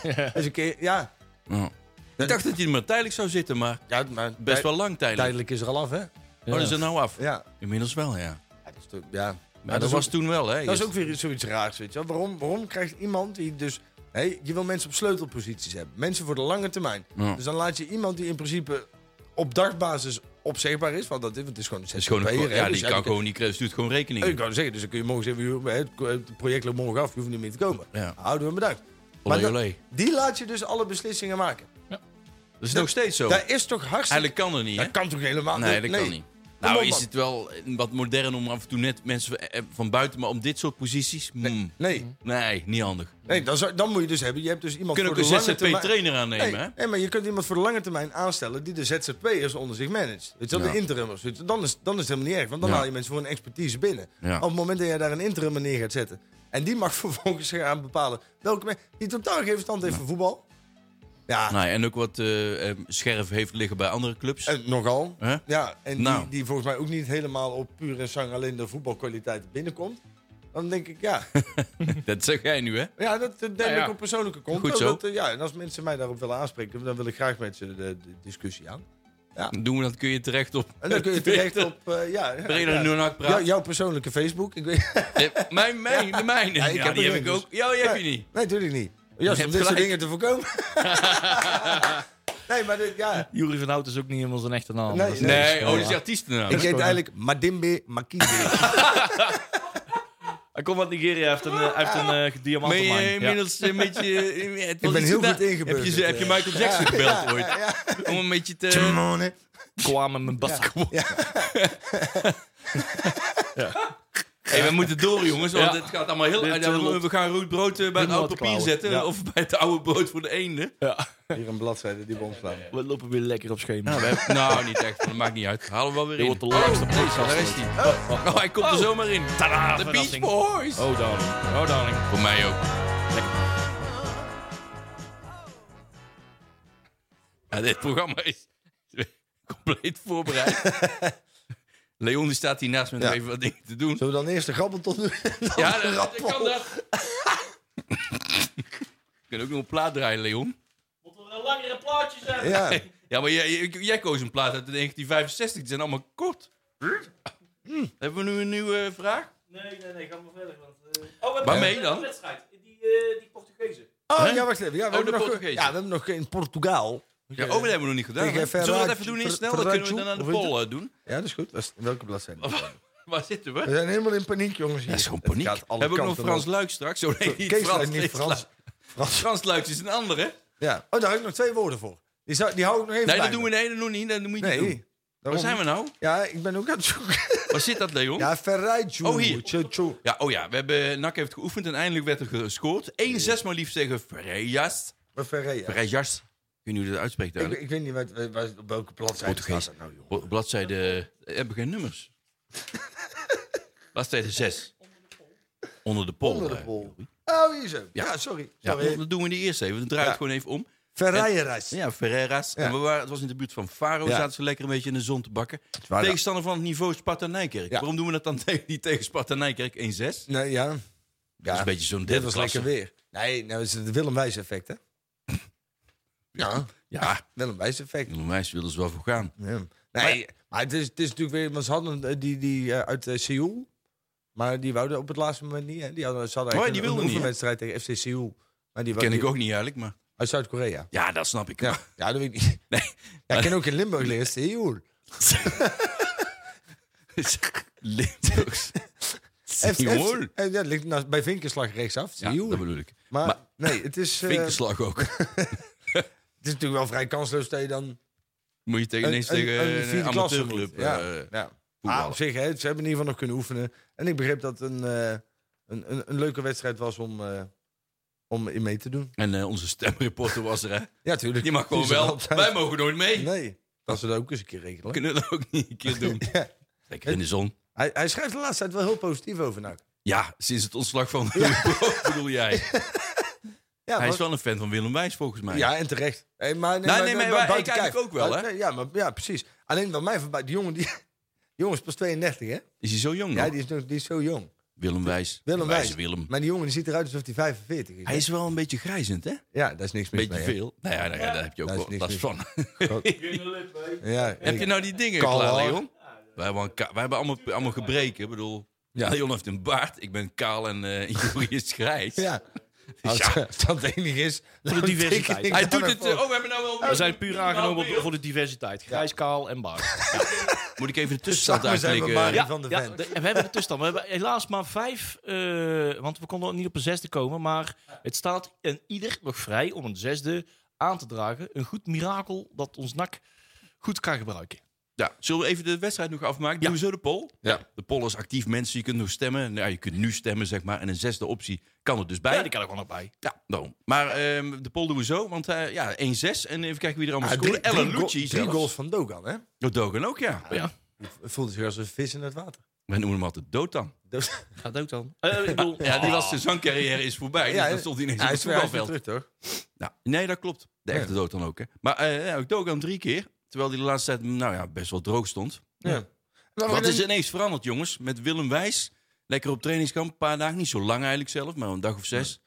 eens een keer, ja,
Ja. Ik dacht dat hij er maar tijdelijk zou zitten, maar
ja maar
best
tij-
wel lang tijdelijk.
Tijdelijk is er al af, hè?
Oh, dat is er nou af?
Ja.
Inmiddels wel, ja.
Ja, dat is toch- ja.
Maar dat
dat is
was
ook-
toen wel, hè?
Dat is ook weer zoiets raars, weet je wel. Waarom, waarom krijgt iemand die dus... Hé, je wil mensen op sleutelposities hebben. Mensen voor de lange termijn.
Ja.
Dus dan laat je iemand die in principe op dagbasis opzegbaar is. Want dat is, want het is gewoon een
Het is gewoon een-
ZZP'er, hè,
ja,
dus
die
ja,
kan
die
gewoon niet krijgen. Stuurt gewoon rekening.
Ik kan zeggen, dus dan kun je morgen zeggen... joh, hè, Het het project loopt morgen af, je hoeft niet meer te komen.
Ja.
Houden we bedankt.
Olé,
dat-
olé.
Die laat je dus alle beslissingen maken.
Dat is nog steeds zo.
Dat is toch hartstikke...
Eigenlijk kan dat niet, hè?
Dat kan toch helemaal
Nee, dat kan niet. Nou
ah, op,
is
man.
het wel wat modern om af en toe net mensen eh, van buiten, maar om dit soort posities? mm,
Nee,
nee, niet handig.
nee dan, zou- dan moet je dus hebben... Je hebt dus iemand
Kunnen ook
voor
een
de lange termijn-
ZZP-trainer aannemen,
Nee,
hè?
nee, maar je kunt iemand voor de lange termijn aanstellen die de ZZP'ers onder zich managt. Weet je wel,
Ja.
de interimmers. Weet je, wel. dan, is, dan is het helemaal niet erg, want dan
Ja.
haal je mensen voor een expertise binnen.
Ja.
Op het moment dat jij daar een interimmer neer gaat zetten. En die mag vervolgens gaan bepalen welke men, die totaal geen verstand heeft van voetbal. Ja,
Nou, en ook wat eh, eh, scherf heeft liggen bij andere clubs.
en nogal.
Hè?
Ja, en
Nou.
die, die volgens mij ook niet helemaal op puur en zang alleen de voetbalkwaliteit binnenkomt. Dan denk ik, ja,
Dat zeg jij nu, hè?
ja dat eh, denk
Nou ja.
ik op persoonlijke kont.
Goed zo.
Dat, eh, ja, en als mensen mij daarop willen aanspreken, dan wil ik graag met ze de, de discussie aan.
Doen we dat, kun je terecht op.
En dan kun je terecht op eh, ja, ja,
Breda
ja.
Noornak praat.
Jou- jouw persoonlijke Facebook. Ik weet,
Nee, mijn, mijn, de mijne.
Ja,
Ja,
ik heb
die
er
heb ik
dus.
ook. Ja, die heb je niet.
nee, natuurlijk niet.
Je
Juist om
hebt
dit soort
gelijk.
dingen te voorkomen. nee, maar dit, ja.
Jury van Hout is ook niet helemaal zijn echte naam.
Nee,
Dat is- eh,
nee.
Nee, oh, dat is artiestennaam.
Ik heet eigenlijk Madimbe Makinde.
Hij komt uit Nigeria, hij heeft een, eh, hij heeft een eh
Ben
diamantenmijn.
je
Ja.
inmiddels een beetje... eh, het was
ben
iets
heel
gedaan.
goed ingeburgerd,
Heb je, ze- heb je
ja.
Michael Jackson gebeld ooit? Om een beetje te...
kwamen mijn bas.
Hey, we moeten door, jongens. Want
Ja.
het gaat allemaal heel...
Dit,
eh,
eh,
we gaan rood brood eh, bij het
Dit
oude
moet
papier
kwalijk.
zetten.
Ja.
Of bij het oude brood voor de eenden.
Hier een bladzijde die we omslaan.
We lopen weer lekker op schema.
Nou, we hebben- nou, niet echt. Dat maakt niet uit. Halen we wel weer
Dit
in.
wordt de laatste
Oh, daar is hij. Oh, hij komt er zomaar in.
Tada,
De Beach
verrassing.
Boys.
Oh darling, oh darling.
Voor mij ook. Ja, dit programma is compleet voorbereid. Leon die staat hier naast me nog
Ja.
even wat dingen te doen.
Zullen we dan eerst de grabbel tot nu?
Ja, dat, dat kan dat. Ik kan ook nog een plaat draaien, Leon.
ja.
Ja, maar jij, jij- jij koos een plaat uit 1965. Die zijn allemaal kort. Hm. Hebben we nu een nieuwe vraag?
Nee, nee, nee, ga maar verder. Oh,
hebben Waarmee nog een dan?
wedstrijd, die, die Portugezen.
Oh,
Hè?
ja, wacht even. Ja, we,
Oh, de
hebben nog,
Portugees.
ja, we hebben nog in Portugaal.
Ja, oh, dat hebben we nog niet gedaan.
Tegen
hè? Zullen we dat
Ferrari-
even doen, heel
Fer-
snel? Dat kunnen we dan aan de
Ferrari-
poll eh, doen.
Ja, dat is goed. Dat is- welke bladzijde?
Waar zitten we?
We zijn helemaal in paniek, jongens. hier.
Dat is gewoon
Oh, Het
paniek.
gaat alle
Hebben we ook nog
kanten
Frans
op.
Luik straks? Oh nee, niet
Kees
Frans.
Luik, niet
Kees
Frans.
Luik.
Frans.
Frans Luik is een andere.
Ja. Oh, daar heb ik nog twee woorden voor. Die, zou, die hou ik nog even
Nee,
bij
dat
me.
doen we nee, dat doen we niet. Dat moet je
Nee,
niet doen. Waar
Daarom-
zijn we nou?
Ja, ik ben ook aan het zoeken.
Waar zit dat, Leon? Ja.
Ja, Ferraichu.
Oh, hier.
Tjo, tjo.
oh ja, we hebben, NAC heeft geoefend en eindelijk werd er gescoord. 1-6 maar liefst tegen Frejas.
Maar Ferreira.
Frejas. Ik weet niet hoe je dat uitspreekt
Ik,
eigenlijk.
ik weet niet wat, wat- wat- op welke bladzijde
Portugees.
staat dat nou, joh.
Bo- Bladzijde... eh, Hebben geen nummers. Bladzijde 6. Onder de pol.
Onder de
eh,
pol.
Jorie.
Oh, hier zo.
Ja.
Ja, sorry.
Ja,
sorry.
dat doen we niet eerst even. Dan draai ik
Ja.
het gewoon even om.
Ferreiras.
Ja, Ferreira's. En we waren, het was in de buurt van Faro.
Ja.
Zaten ze lekker een beetje in de zon te bakken.
waar, ja.
Tegenstander van het niveau Sparta Nijkerk.
Ja.
Waarom doen we dat dan tegen, niet tegen Sparta Nijkerk 1-6?
Nee, ja.
Dat is
Ja.
een beetje zo'n
Dit
derde
was
klasse.
lekker weer. Nee, nou is het het Willem Wijs effect, hè? Ja,
Ja,
Willem Wijs effect.
de meisjes willen ze wel voor gaan.
Ja. Nee, maar, het, is, het is natuurlijk weer... Want ze hadden eh, die, die eh, uit eh, Seoul. Maar die wouden op het laatste moment niet. Hè? Die hadden, ze hadden
Oh,
eigenlijk
ja, die
een-
wilden
een
niet, hè?
wedstrijd tegen FC Seoul. Maar die
Dat ken
wou-
ik ook niet eigenlijk, maar...
Uit Zuid-Korea.
Ja, dat snap ik.
Ja. ja, dat weet ik niet.
Nee.
Ja, ik ken ook in Limburg liggen Seoul.
Dus- Limburgs.
F- F-
Seoul.
eh, Ja, het ligt naast- bij Vinkenslag rechtsaf.
Ja,
Seoul.
dat bedoel ik.
maar,
maar-
nee, het is, eh, het
Vinkenslag ook.
is natuurlijk wel vrij kansloos dat je dan...
Moet je tegen, ineens tegen
vierde
een,
klasse
amateurclub
moet. Ja,
eh,
ja.
voetballen.
Maar op zich, hè, ze hebben in ieder geval nog kunnen oefenen. En ik begreep dat het een, eh, een, een, een leuke wedstrijd was om, eh, om in mee te doen.
En eh, onze stemreporter was er, hè?
Ja, tuurlijk.
Die mag gewoon
is er
wel.
altijd.
Wij mogen nooit mee.
Nee, dat ze dat ook eens een keer regelen.
Kunnen we dat ook niet een keer doen.
Ja.
Lekker in de zon.
Hij, hij schrijft de laatste tijd wel heel positief over NAC.
Ja, sinds het ontslag van bedoel jij.
Ja,
Hij is
maar-
wel een fan van Willem Wijs, volgens mij.
ja en terecht. Hey, maar,
Nee, nee, maar wij-
buiten
ik eigenlijk
kijf.
ook wel, hè?
Nee, Ja, maar, ja, precies. Alleen wat mij voorbij, die jongen, die, die jongen is pas 32, hè?
Is hij zo jong
Ja,
nog?
die is, nog, die is zo jong.
Willem Wijs.
Willem
Wijze
Wijs.
Willem.
Maar die jongen die ziet eruit alsof hij 45 is.
Hij is wel een beetje grijzend, hè? Een
Ja, daar is niks mis
beetje
mee.
veel. Nou ja, daar, daar heb je ook
Daar is
wel
niks
last
mis
van.
hè? Ja,
heb je nou die dingen
Kalm.
klaar, Leon? Wij hebben, een ka- wij hebben allemaal, allemaal gebreken. Ik bedoel, Leon heeft een baard. Ik ben kaal en eh Jorie is grijs.
Ja. Als,
Ja.
als dat het enige is. dan
diversiteit.
teken ik
Hij
daar
doet
nog
het...
voor.
eh, oh, we hebben nou wel...
We zijn puur aangenomen op- voor de diversiteit. Grijs, kaal en baard.
Moet ik even de tussenstand
Samen zijn we
uitklikken?
Marie
Ja.
van de
Ja,
Vent.
de- en we hebben de tussenstand. We hebben helaas maar vijf, eh, want we konden niet op een zesde komen. Maar het staat en ieder nog vrij om een zesde aan te dragen. Een goed mirakel dat ons NAC goed kan gebruiken.
Ja. Zullen we even de wedstrijd nog afmaken? Doen we zo de poll?
Ja.
De poll is actief, mensen. Je kunt nog stemmen. Nou, je kunt nu stemmen, zeg maar. En een zesde optie kan er dus bij.
Ja, die kan er gewoon nog bij.
Ja, daarom. Maar ehm, de poll doen we zo, want eh, ja, 1-6. En even kijken wie er allemaal
Ja,
scoorde. Ellen
go-
Lucci
drie
zelfs.
goals van Dogan, hè?
Oh, Dogan ook, ja. ja.
Ja.
Het voelde zich als een vis in het water.
Wij noemen hem altijd Dotan.
Dus-
Ga dood dan. Eh, ik bedoel,
Ja, die
ah.
was, zijn carrière is voorbij, dus dan stond hij ineens op het
is weer- hij is weer
voetbalveld.
terug, toch?
Nou, nee, dat klopt. De echte Dotan ook, hè. Maar eh, ja, ook Dogan drie keer, terwijl hij de laatste tijd nou, ja, best wel droog stond.
Ja. Maar
Wat
we-
is ineens veranderd, jongens? Met Willem Wijs, lekker op trainingskamp, een paar dagen. Niet zo lang eigenlijk zelf, maar een dag of zes.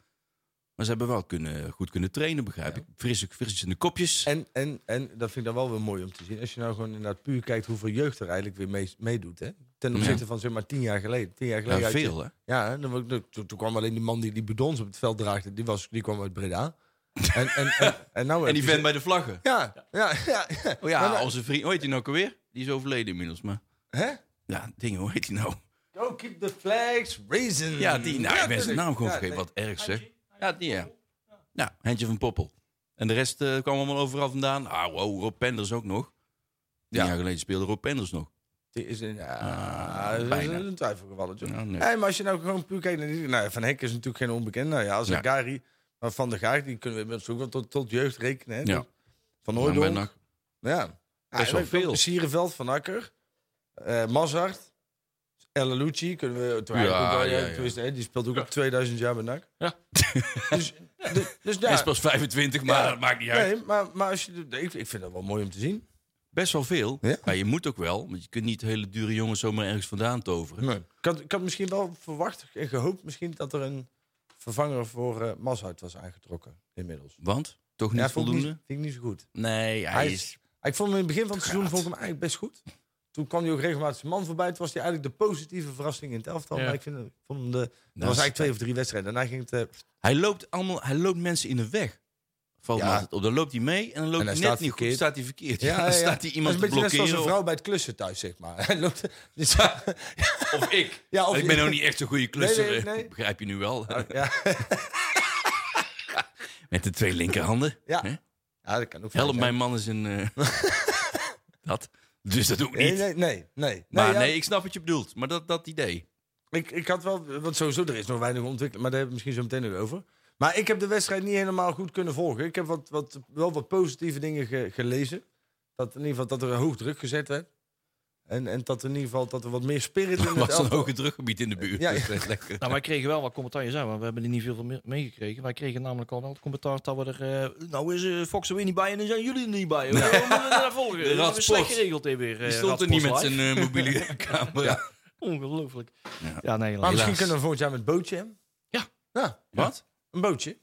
Maar ze hebben wel kunnen, goed kunnen trainen, begrijp ik. Frisse, frisse in de kopjes.
En, en, en dat vind ik dan wel weer mooi om te zien. Als je nou gewoon inderdaad puur kijkt hoeveel jeugd er eigenlijk weer mee- meedoet. hè? Ten opzichte van zeg maar tien jaar geleden. Tien jaar geleden
ja,
had je-
veel, hè.
Ja, hè, dan, wa- dan- toen, toen kwam alleen die man die die bidons op het veld draagde. Die, was, die kwam uit Breda. En, en, en, en, nou
En
heb
die
je
vent
ze-
bij de vlaggen.
Ja, ja, ja.
Oh ja,
Maar nou-
onze vriend, hoe heet hij nou ook alweer? Die is overleden inmiddels, maar...
Hè?
Ja, dingen, hoe heet hij nou?
Go keep the flags raising.
Ja, die, nou, ik ben zijn
tuurlijk.
naam gewoon
Ja,
vergeten.
nee.
Wat erg, zeg. Ja, die, ja. Nou, Hentje van Poppel. En de rest eh, kwam allemaal overal vandaan. Ah, wow, Rob Penders ook nog. Tien
Ja.
jaar geleden speelde Rob Penders nog.
Die is een, ja,
Ah,
dat is
bijna.
een twijfelgevalletje.
Ja, nee.
Hey, maar als je nou gewoon puur kijkt naar die- nou, Van Hek is natuurlijk geen onbekende. Nou ja, als
Ja.
Gary, maar Van der Gaag, die kunnen we inmiddels ook wel tot, tot jeugd rekenen. Hè?
Ja.
Van
Maar bij
Hooydonk.
NAC-
Ja.
Best wel
en dan
veel.
Sierenveld, Van Akker, eh Mazart, El Lucci kunnen we toch
Ja,
eigenlijk ook wel- eh,
ja, ja.
tenminste, hè, die speelt ook al 2000 jaar bij NAC.
Ja.
dus, dus, dus ja.
Hij is pas 25, maar
Ja.
dat maakt niet uit.
Nee, maar, maar als je, ik, ik vind dat wel mooi om te zien.
Best wel veel.
Ja.
Maar je moet ook wel, want je kunt niet hele dure jongens zomaar ergens vandaan toveren.
Nee. Ik, had, ik had misschien wel verwacht en gehoopt misschien dat er een vervanger voor eh Mazhart was aangetrokken inmiddels.
Want? Toch niet
Ja, vond ik niet,
voldoende?
vind ik niet zo goed.
Nee, hij,
Hij
is...
is- Ik vond hem in het begin van het seizoen vond ik hem eigenlijk best goed. Toen kwam hij ook regelmatig zijn man voorbij. Toen was hij eigenlijk de positieve verrassing in het elftal.
Ja.
Maar ik, vind, hem- ik vond hem de... Dat was
is-
eigenlijk twee of drie wedstrijden. Daarna ging het... eh,
Hij loopt, allemaal, hij loopt mensen in de weg. Valt
Ja.
me altijd op. Dan loopt hij mee en dan loopt
En
hij
hij
net
staat
niet goed.
verkeerd.
staat hij verkeerd.
ja,
dan
ja, ja.
staat hij iemand
dat
te
is een beetje net zoals
blokkeren.
een
Of,
vrouw bij het klussen thuis, zeg maar. Hij loopt... Dus,
of ik.
ja, of
ik ben ook niet echt zo'n goede klusser. eh.
Nee, nee, nee.
Begrijp je nu wel.
Ja,
Met de twee linkerhanden.
Ja.
Hè?
ja, dat kan ook
Help
fijn zijn.
mijn man is een... eh, dat. Dus dat doe ik
Nee,
niet.
nee, nee. nee.
Maar
ja,
nee, ik snap wat je bedoelt. Maar dat, dat idee.
Ik, ik had wel, want sowieso, er is nog weinig ontwikkeld, maar daar hebben we misschien zo meteen nog over. Maar ik heb de wedstrijd niet helemaal goed kunnen volgen. Ik heb wat, wat, wel wat positieve dingen ge- gelezen. Dat in ieder geval dat er hoog druk gezet werd. En, en dat in ieder geval dat er wat meer spirit in het
was een
elftal-
hoge drukgebied in de buurt.
Ja, ja.
Dat is lekker.
Nou, wij kregen wel wat commentaar, je zei, want we hebben er niet veel van me- meegekregen. Wij kregen namelijk al wel het commentaar dat we er... eh, nou is eh, Fox er weer niet bij en dan zijn jullie er niet bij. Hoe moeten we daar volgen? Dat hebben we
Radsport.
slecht geregeld hier weer. eh,
Die stond er niet met
Radsport
zijn
Live.
eh, mobiele camera.
Ongelooflijk. Ja, nee,
Maar
helaas.
misschien
Helaas.
kunnen we volgend jaar met een bootje hebben.
Ja.
Ja,
Wat?
een bootje.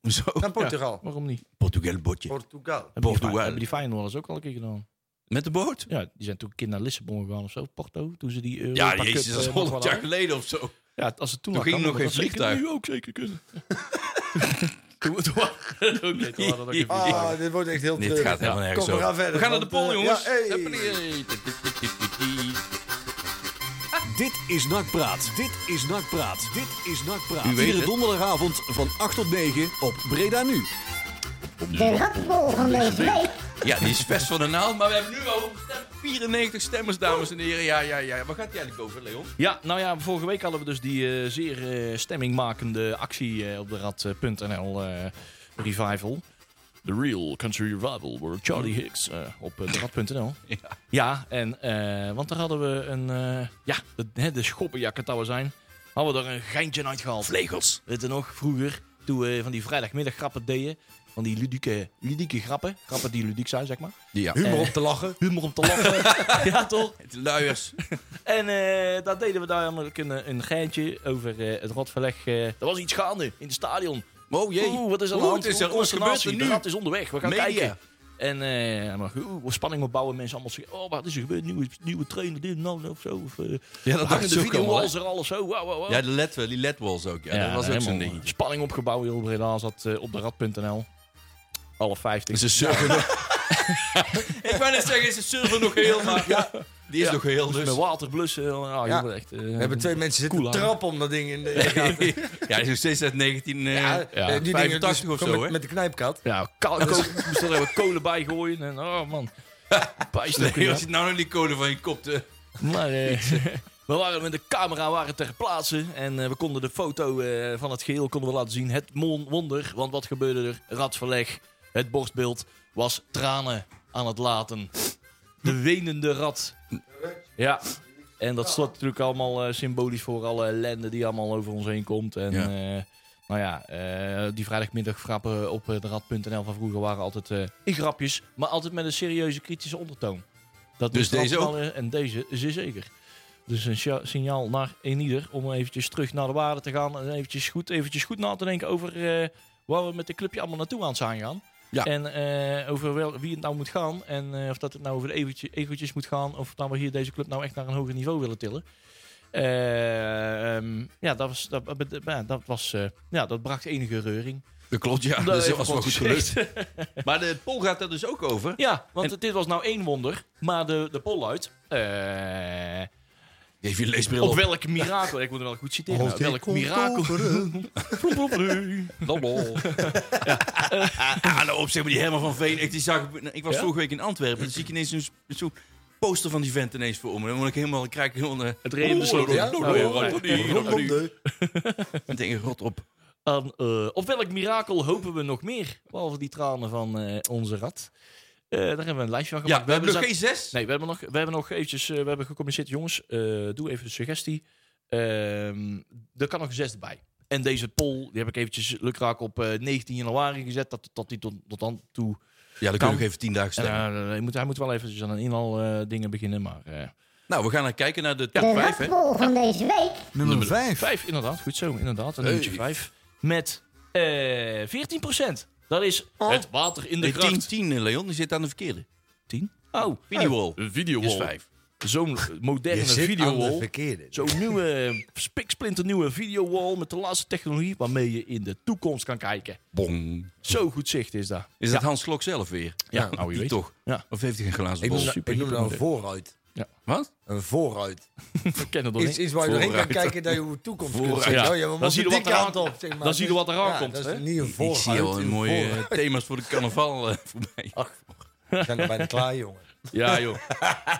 Hoezo?
Naar Portugal.
Waarom niet?
Portugeel botje.
Portugal.
Hebben die,
Portugal.
Fi- hebben die Feyenoorders ook al een keer gedaan.
Met de boot?
Ja, die zijn toen een keer naar Lissabon gegaan of zo, Porto, toen ze die Europa
Ja,
Cup,
jezus, dat is
eh, nog
100
hadden.
jaar geleden of zo.
Ja, als het toen,
Toen
al
ging
kan,
nog
dan
geen
moet dat
vliegtuig.
Zeker nu ook zeker kunnen. toen toen waren er ook niet. toen waren er ook geen vliegtuig.
Ah, dit wordt echt heel
Dit
treurig.
gaat helemaal nergens
Kom, we
over.
gaan verder,
We gaan naar de
want,
poll,
eh,
jongens.
ja, hey.
Huppakee.
Dit is Nakpraat. Dit is Nakpraat. Dit is Nakpraat.
U weet
Iedere
het.
donderdagavond van 8 tot 9 op Breda Nu.
Ja, die is best van de naald, maar we hebben nu al gestemd. 94 stemmers, dames en heren. Ja, ja, ja. Waar gaat die eigenlijk over, Leon?
Ja, nou ja, vorige week hadden we dus die eh, zeer eh, stemmingmakende actie eh, op de rad.nl eh, revival. The Real Country Revival door Charlie Hicks eh, op eh, de rad.nl. Ja, en, eh, want daar hadden we een, eh, ja, de, hè, de schoppenjakken dat we zijn, hadden we daar een geintje aan uitgehaald.
Vlegels.
Weet je nog, vroeger, toen we van die vrijdagmiddag grappen deden, van die ludieke, ludieke grappen, grappen die ludiek zijn, zeg maar.
Ja.
Humor op te lachen.
Humor om te lachen. ja, toch?
De luiers.
En eh, daar deden we namelijk een, een geintje over eh, het rotverleg. eh er was iets gaande in het stadion.
Oh jee.
Oeh, wat is er aan de
Oeh,
hand?
het is er-
Oeh,
wat gebeurt er
consternatie.
nu?
De rat is onderweg. We gaan
Media.
kijken. En eh, maar, oeh, spanning opbouwen. Mensen allemaal zeggen, oh, wat is er gebeurd? Nieuwe, nieuwe trainer, dit en dat of zo. Of, eh,
Ja, dat
hangen
dacht
de
ik ook allemaal.
videowalls
hè?
er al of zo. Wow, wow, wow.
Ja, de LED, eh, die LED-walls ook. Ja, dat was ook zo'n
helemaal,
ding.
eh, Spanning opgebouwd. Heel Breda zat eh, op de rad.nl. Alle 50.
Ze surfen nog. Ik wou net zeggen, ze surfen nog heel, maar die is nog heel.
Dus
Dus.
met water blussen. Ah,
Ja.
joh, echt, eh,
We hebben twee mensen zitten
Koelaan.
trappen om dat ding in de gaten.
Ja, hij is nog steeds uit 19... eh,
Ja,
ja.
eh, die dingen
85
dus
of zo,
gewoon met-
hè?
Met de knijpkat.
Ja, kolen, kolen, moest er even kolen bij gooien. En, oh man. Bijster.
Nee, als je nou nog die kolen van je kop... te-
maar eh, we waren met de camera waren ter plaatse. En eh, we konden de foto eh, van het geheel konden we laten zien. Het mon wonder. Want wat gebeurde er? Radverleg. Het borstbeeld was tranen aan het laten. De wenende rat. Ja. En dat stond natuurlijk allemaal eh, symbolisch voor alle ellende die allemaal over ons heen komt. En
Ja.
eh, nou ja, eh, die vrijdagmiddag grappen op eh, de rad.nl van vroeger waren altijd eh, in grapjes, maar altijd met een serieuze kritische ondertoon. Dat
Dus
moest er
deze
altijd wel, eh, En deze zeer zeker. Dus een sja- signaal naar een ieder om eventjes terug naar de waarde te gaan. En eventjes goed, eventjes goed na te denken over eh, waar we met de clubje allemaal naartoe aan zijn gaan.
Ja.
En eh, over wel, wie het nou moet gaan. En eh, of dat het nou over de ego'tje- ego'tjes moet gaan. Of dat we hier deze club nou echt naar een hoger niveau willen tillen. Eh, ehm, ja, dat, was, dat, dat- ja, dat, was, eh, ja, dat bracht enige reuring.
Dat klopt, ja.
Daar
Dat is
even
was wel
wat
goed
gezegd.
gelukt. Maar de poll gaat daar dus ook over.
Ja, want dit was nou één wonder. Maar de, de poll luidt... eh,
Geef je leesbril
op
op.
welk mirakel... Ik moet hem wel goed citeren. nou, welk mirakel... Vroom, vroom, vroom. Dobbel.
Ah, nou op zich, maar die Herman van Veen. Ik, die zag, ik was
Ja?
vorige week in Antwerpen. Dan zie ik ineens zo'n zo'n poster van die vent ineens voor om. En dan word ik helemaal, dan krijg ik helemaal... eh,
Het reed in de sloot.
ja?
Oh, ja.
Dan denk ik, rot op.
Aan, eh, op welk mirakel hopen we nog meer? Behalve die tranen van eh, onze rat. Eh, daar hebben we een lijstje van gemaakt.
Ja, we hebben nog
dus
geen zes.
dat- Nee, we hebben nog, we hebben nog eventjes eh, we hebben gecommuniceerd. Jongens, eh, doe even een suggestie. Ehm, er kan nog een zesde bij. En deze poll, die heb ik eventjes lukraak op eh, 19 januari gezet. Dat, dat die tot, tot dan toe...
Ja, dan kun
Kan.
je nog even tien dagen
En,
stemmen.
eh, hij, moet, hij moet wel eventjes aan een inhaal eh, dingen beginnen, maar... eh,
Nou, we gaan naar kijken naar de top 5, hè.
van deze week.
Nummer 5.
Vijf, inderdaad. Goed zo, inderdaad. Een
Hey.
nummertje vijf. Met eh 14 Dat is het water in de
De
gracht.
10, 10, eh, Leon, die zit aan de verkeerde.
Tien? Oh,
Videowall.
een video
Die is vijf.
Zo'n moderne
Je zit aan de
videowall.
verkeerde.
Zo'n nieuwe, spiksplinternieuwe videowall met de laatste technologie waarmee je in de toekomst kan kijken.
Bong.
Zo goed zicht is dat.
Is dat Hans Klok zelf weer?
Ja, nou, je
die
weet.
toch.
Ja.
Of heeft hij geen glazen
Ik
bol?
noem,
super,
ik noem dat een
hypermodern.
vooruit.
Wat?
Een vooruit.
We kennen het nog
Iets,
niet.
iets waar je doorheen kan
Vooruit.
kijken dat je hoe toekomst kunt
Vooruit.
zien.
Ja.
Oh, ja, we
Dan
moeten
zie je
die
wat eraan-
kant op, zeg maar.
dan zie je
Dus-
wat eraan
ja,
komt,
Dat
hè?
is niet een
Ik
vooruit.
zie al een
een
mooie
vooruit.
eh, thema's voor de carnaval eh, voorbij.
We zijn er bijna klaar, jongen.
Ja, joh.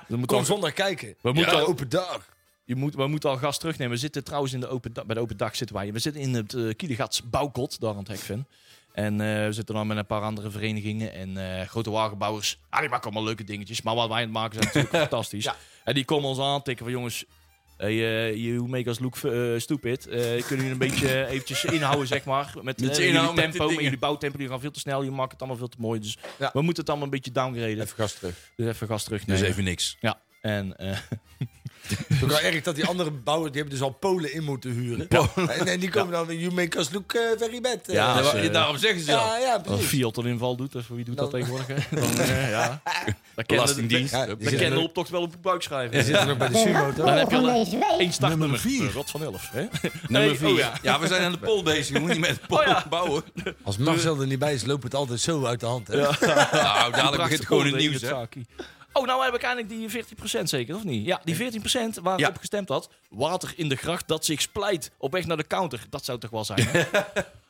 We moeten
Kom
al,
zondag kijken.
we moeten
Ja,
al-
open dag.
je moet, we moeten al gas terugnemen. We zitten trouwens in de open da- bij de open dag zitten wij. We zitten in het eh Kiedegats Bouwkot, daar aan het Hekven. En eh, we zitten dan met een paar andere verenigingen en eh, grote wagenbouwers. Ah, die maken allemaal leuke dingetjes. Maar wat wij aan het maken zijn natuurlijk fantastisch.
Ja.
En die komen ons aantikken van jongens... Hey, eh, you make us look eh, stupid. Eh, kunnen jullie een beetje eh, eventjes inhouden, zeg maar. Met,
Met
eh,
je
jullie
inhouden, met die
tempo, met
dingen.
jullie bouwtempo. Jullie gaan veel te snel, jullie maken het allemaal veel te mooi. Dus
Ja.
we moeten het allemaal een beetje downgraden.
Even gas terug.
Dus even gas terugnemen.
Dus even niks.
Ja, en... eh,
Het is ook wel erg dat die andere bouwers, die hebben dus al Polen in moeten huren. En, en die komen dan, weer, you make us look eh, very bad. eh.
Ja,
als,
wa-
eh,
daarom zeggen ze
ja,
dat.
ja,
Als
precies.
Fiat een inval doet, dus wie doet dat
Dan-
tegenwoordig? Hè? Dan, eh, ja. Dan
Belastingdienst.
Ja,
Ja,
die
Dan
zitten
kan de
er-
optocht wel op je buik schrijven.
die zitten ook bij de sumo, toch?
Dan heb je al één startnummer.
Nummer vier.
Eh, Rot van elf. Hè?
Nummer
Hey,
vier.
oh
ja. we zijn aan de pol bezig. We moeten niet met de pol
Oh ja.
bouwen.
Als Marcel er niet bij is, loopt het altijd zo uit de hand. Hè?
Nou, dadelijk begint
Prachtig
gewoon het
onderdeel
nieuws.
in
hè.
zaakie. Oh, nou heb ik eindelijk die 14% zeker, of niet? Ja, die 14% waar ik
Ja.
op gestemd had. Water in de gracht dat zich splijt op weg naar de counter. Dat zou het toch wel zijn, hè?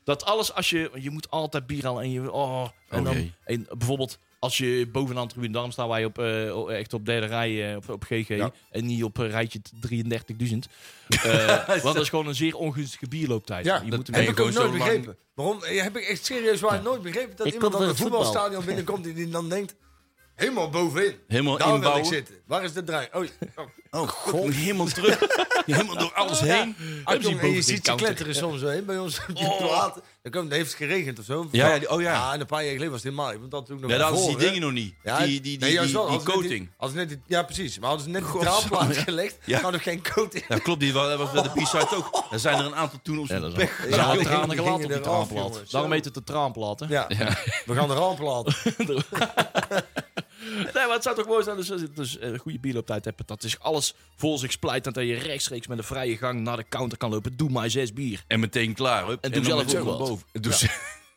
Dat alles als je... Je moet altijd bier halen en je... Oh, en
Oh,
dan,
jee.
en bijvoorbeeld als je bovenaan tribune... Daarom staan wij op, eh, echt op derde rij eh, op, op GG. En niet op eh, rijtje 33.000. Eh, want dat is gewoon een zeer ongunstige bierlooptijd.
Ja,
je
dat
moet een
en
heb
beetje-
ik ook
gewoon
nooit
zo lang-
begrepen. Waarom? eh, Heb ik echt serieus waar nooit begrepen dat
Ik kom
iemand dan
van
een
het voetbal.
voetbalstadion binnenkomt en die dan denkt, helemaal bovenin.
Helemaal
Daar wil ik
inbouwen.
zitten. Waar is de draai? Oh, oh.
Oh, god. Helemaal terug. Helemaal door alles heen.
Ah, jongen, en je
bovenin
ziet ze
counter.
kletteren soms heen bij ons op die platen. Dan komt- dan heeft het geregend of zo.
Oh. Ja, ja, die- oh ja.
ja. En een paar jaar geleden was het helemaal. Want dat toen nog
Ja, dat is die
voor, hè.
dingen nog niet.
Ja,
die die, die,
nee, juist
die-
wel.
die
Hadden ze net
coating.
hadden ze net die- ja, precies. Maar hadden ze net die
Godzang.
traalplaat gelegd,
Ja.
hadden we geen coating.
Ja, klopt. Die wa- was bij de B-side ook. Er zijn er een aantal toen op
Ja, dat is
zijn
wel-
pech.
Er zijn
Ja,
wel
die
tranen
gingen
gelaten op die
eraf,
traanplaat.
jongens.
Daarom heet het de traanplaat, hè?
Ja. we gaan de ramp laten.
Nee, maar het zou toch mooi zijn dus, dus een goede bierlooptijd hebben. Dat is alles vol zich splijt. En dat je rechtstreeks met een vrije gang naar de counter kan lopen. Doe maar zes bier.
En meteen klaar. Hup.
En doe
dan
zelf
meteen
ook
naar
wat.
boven. Doe ze-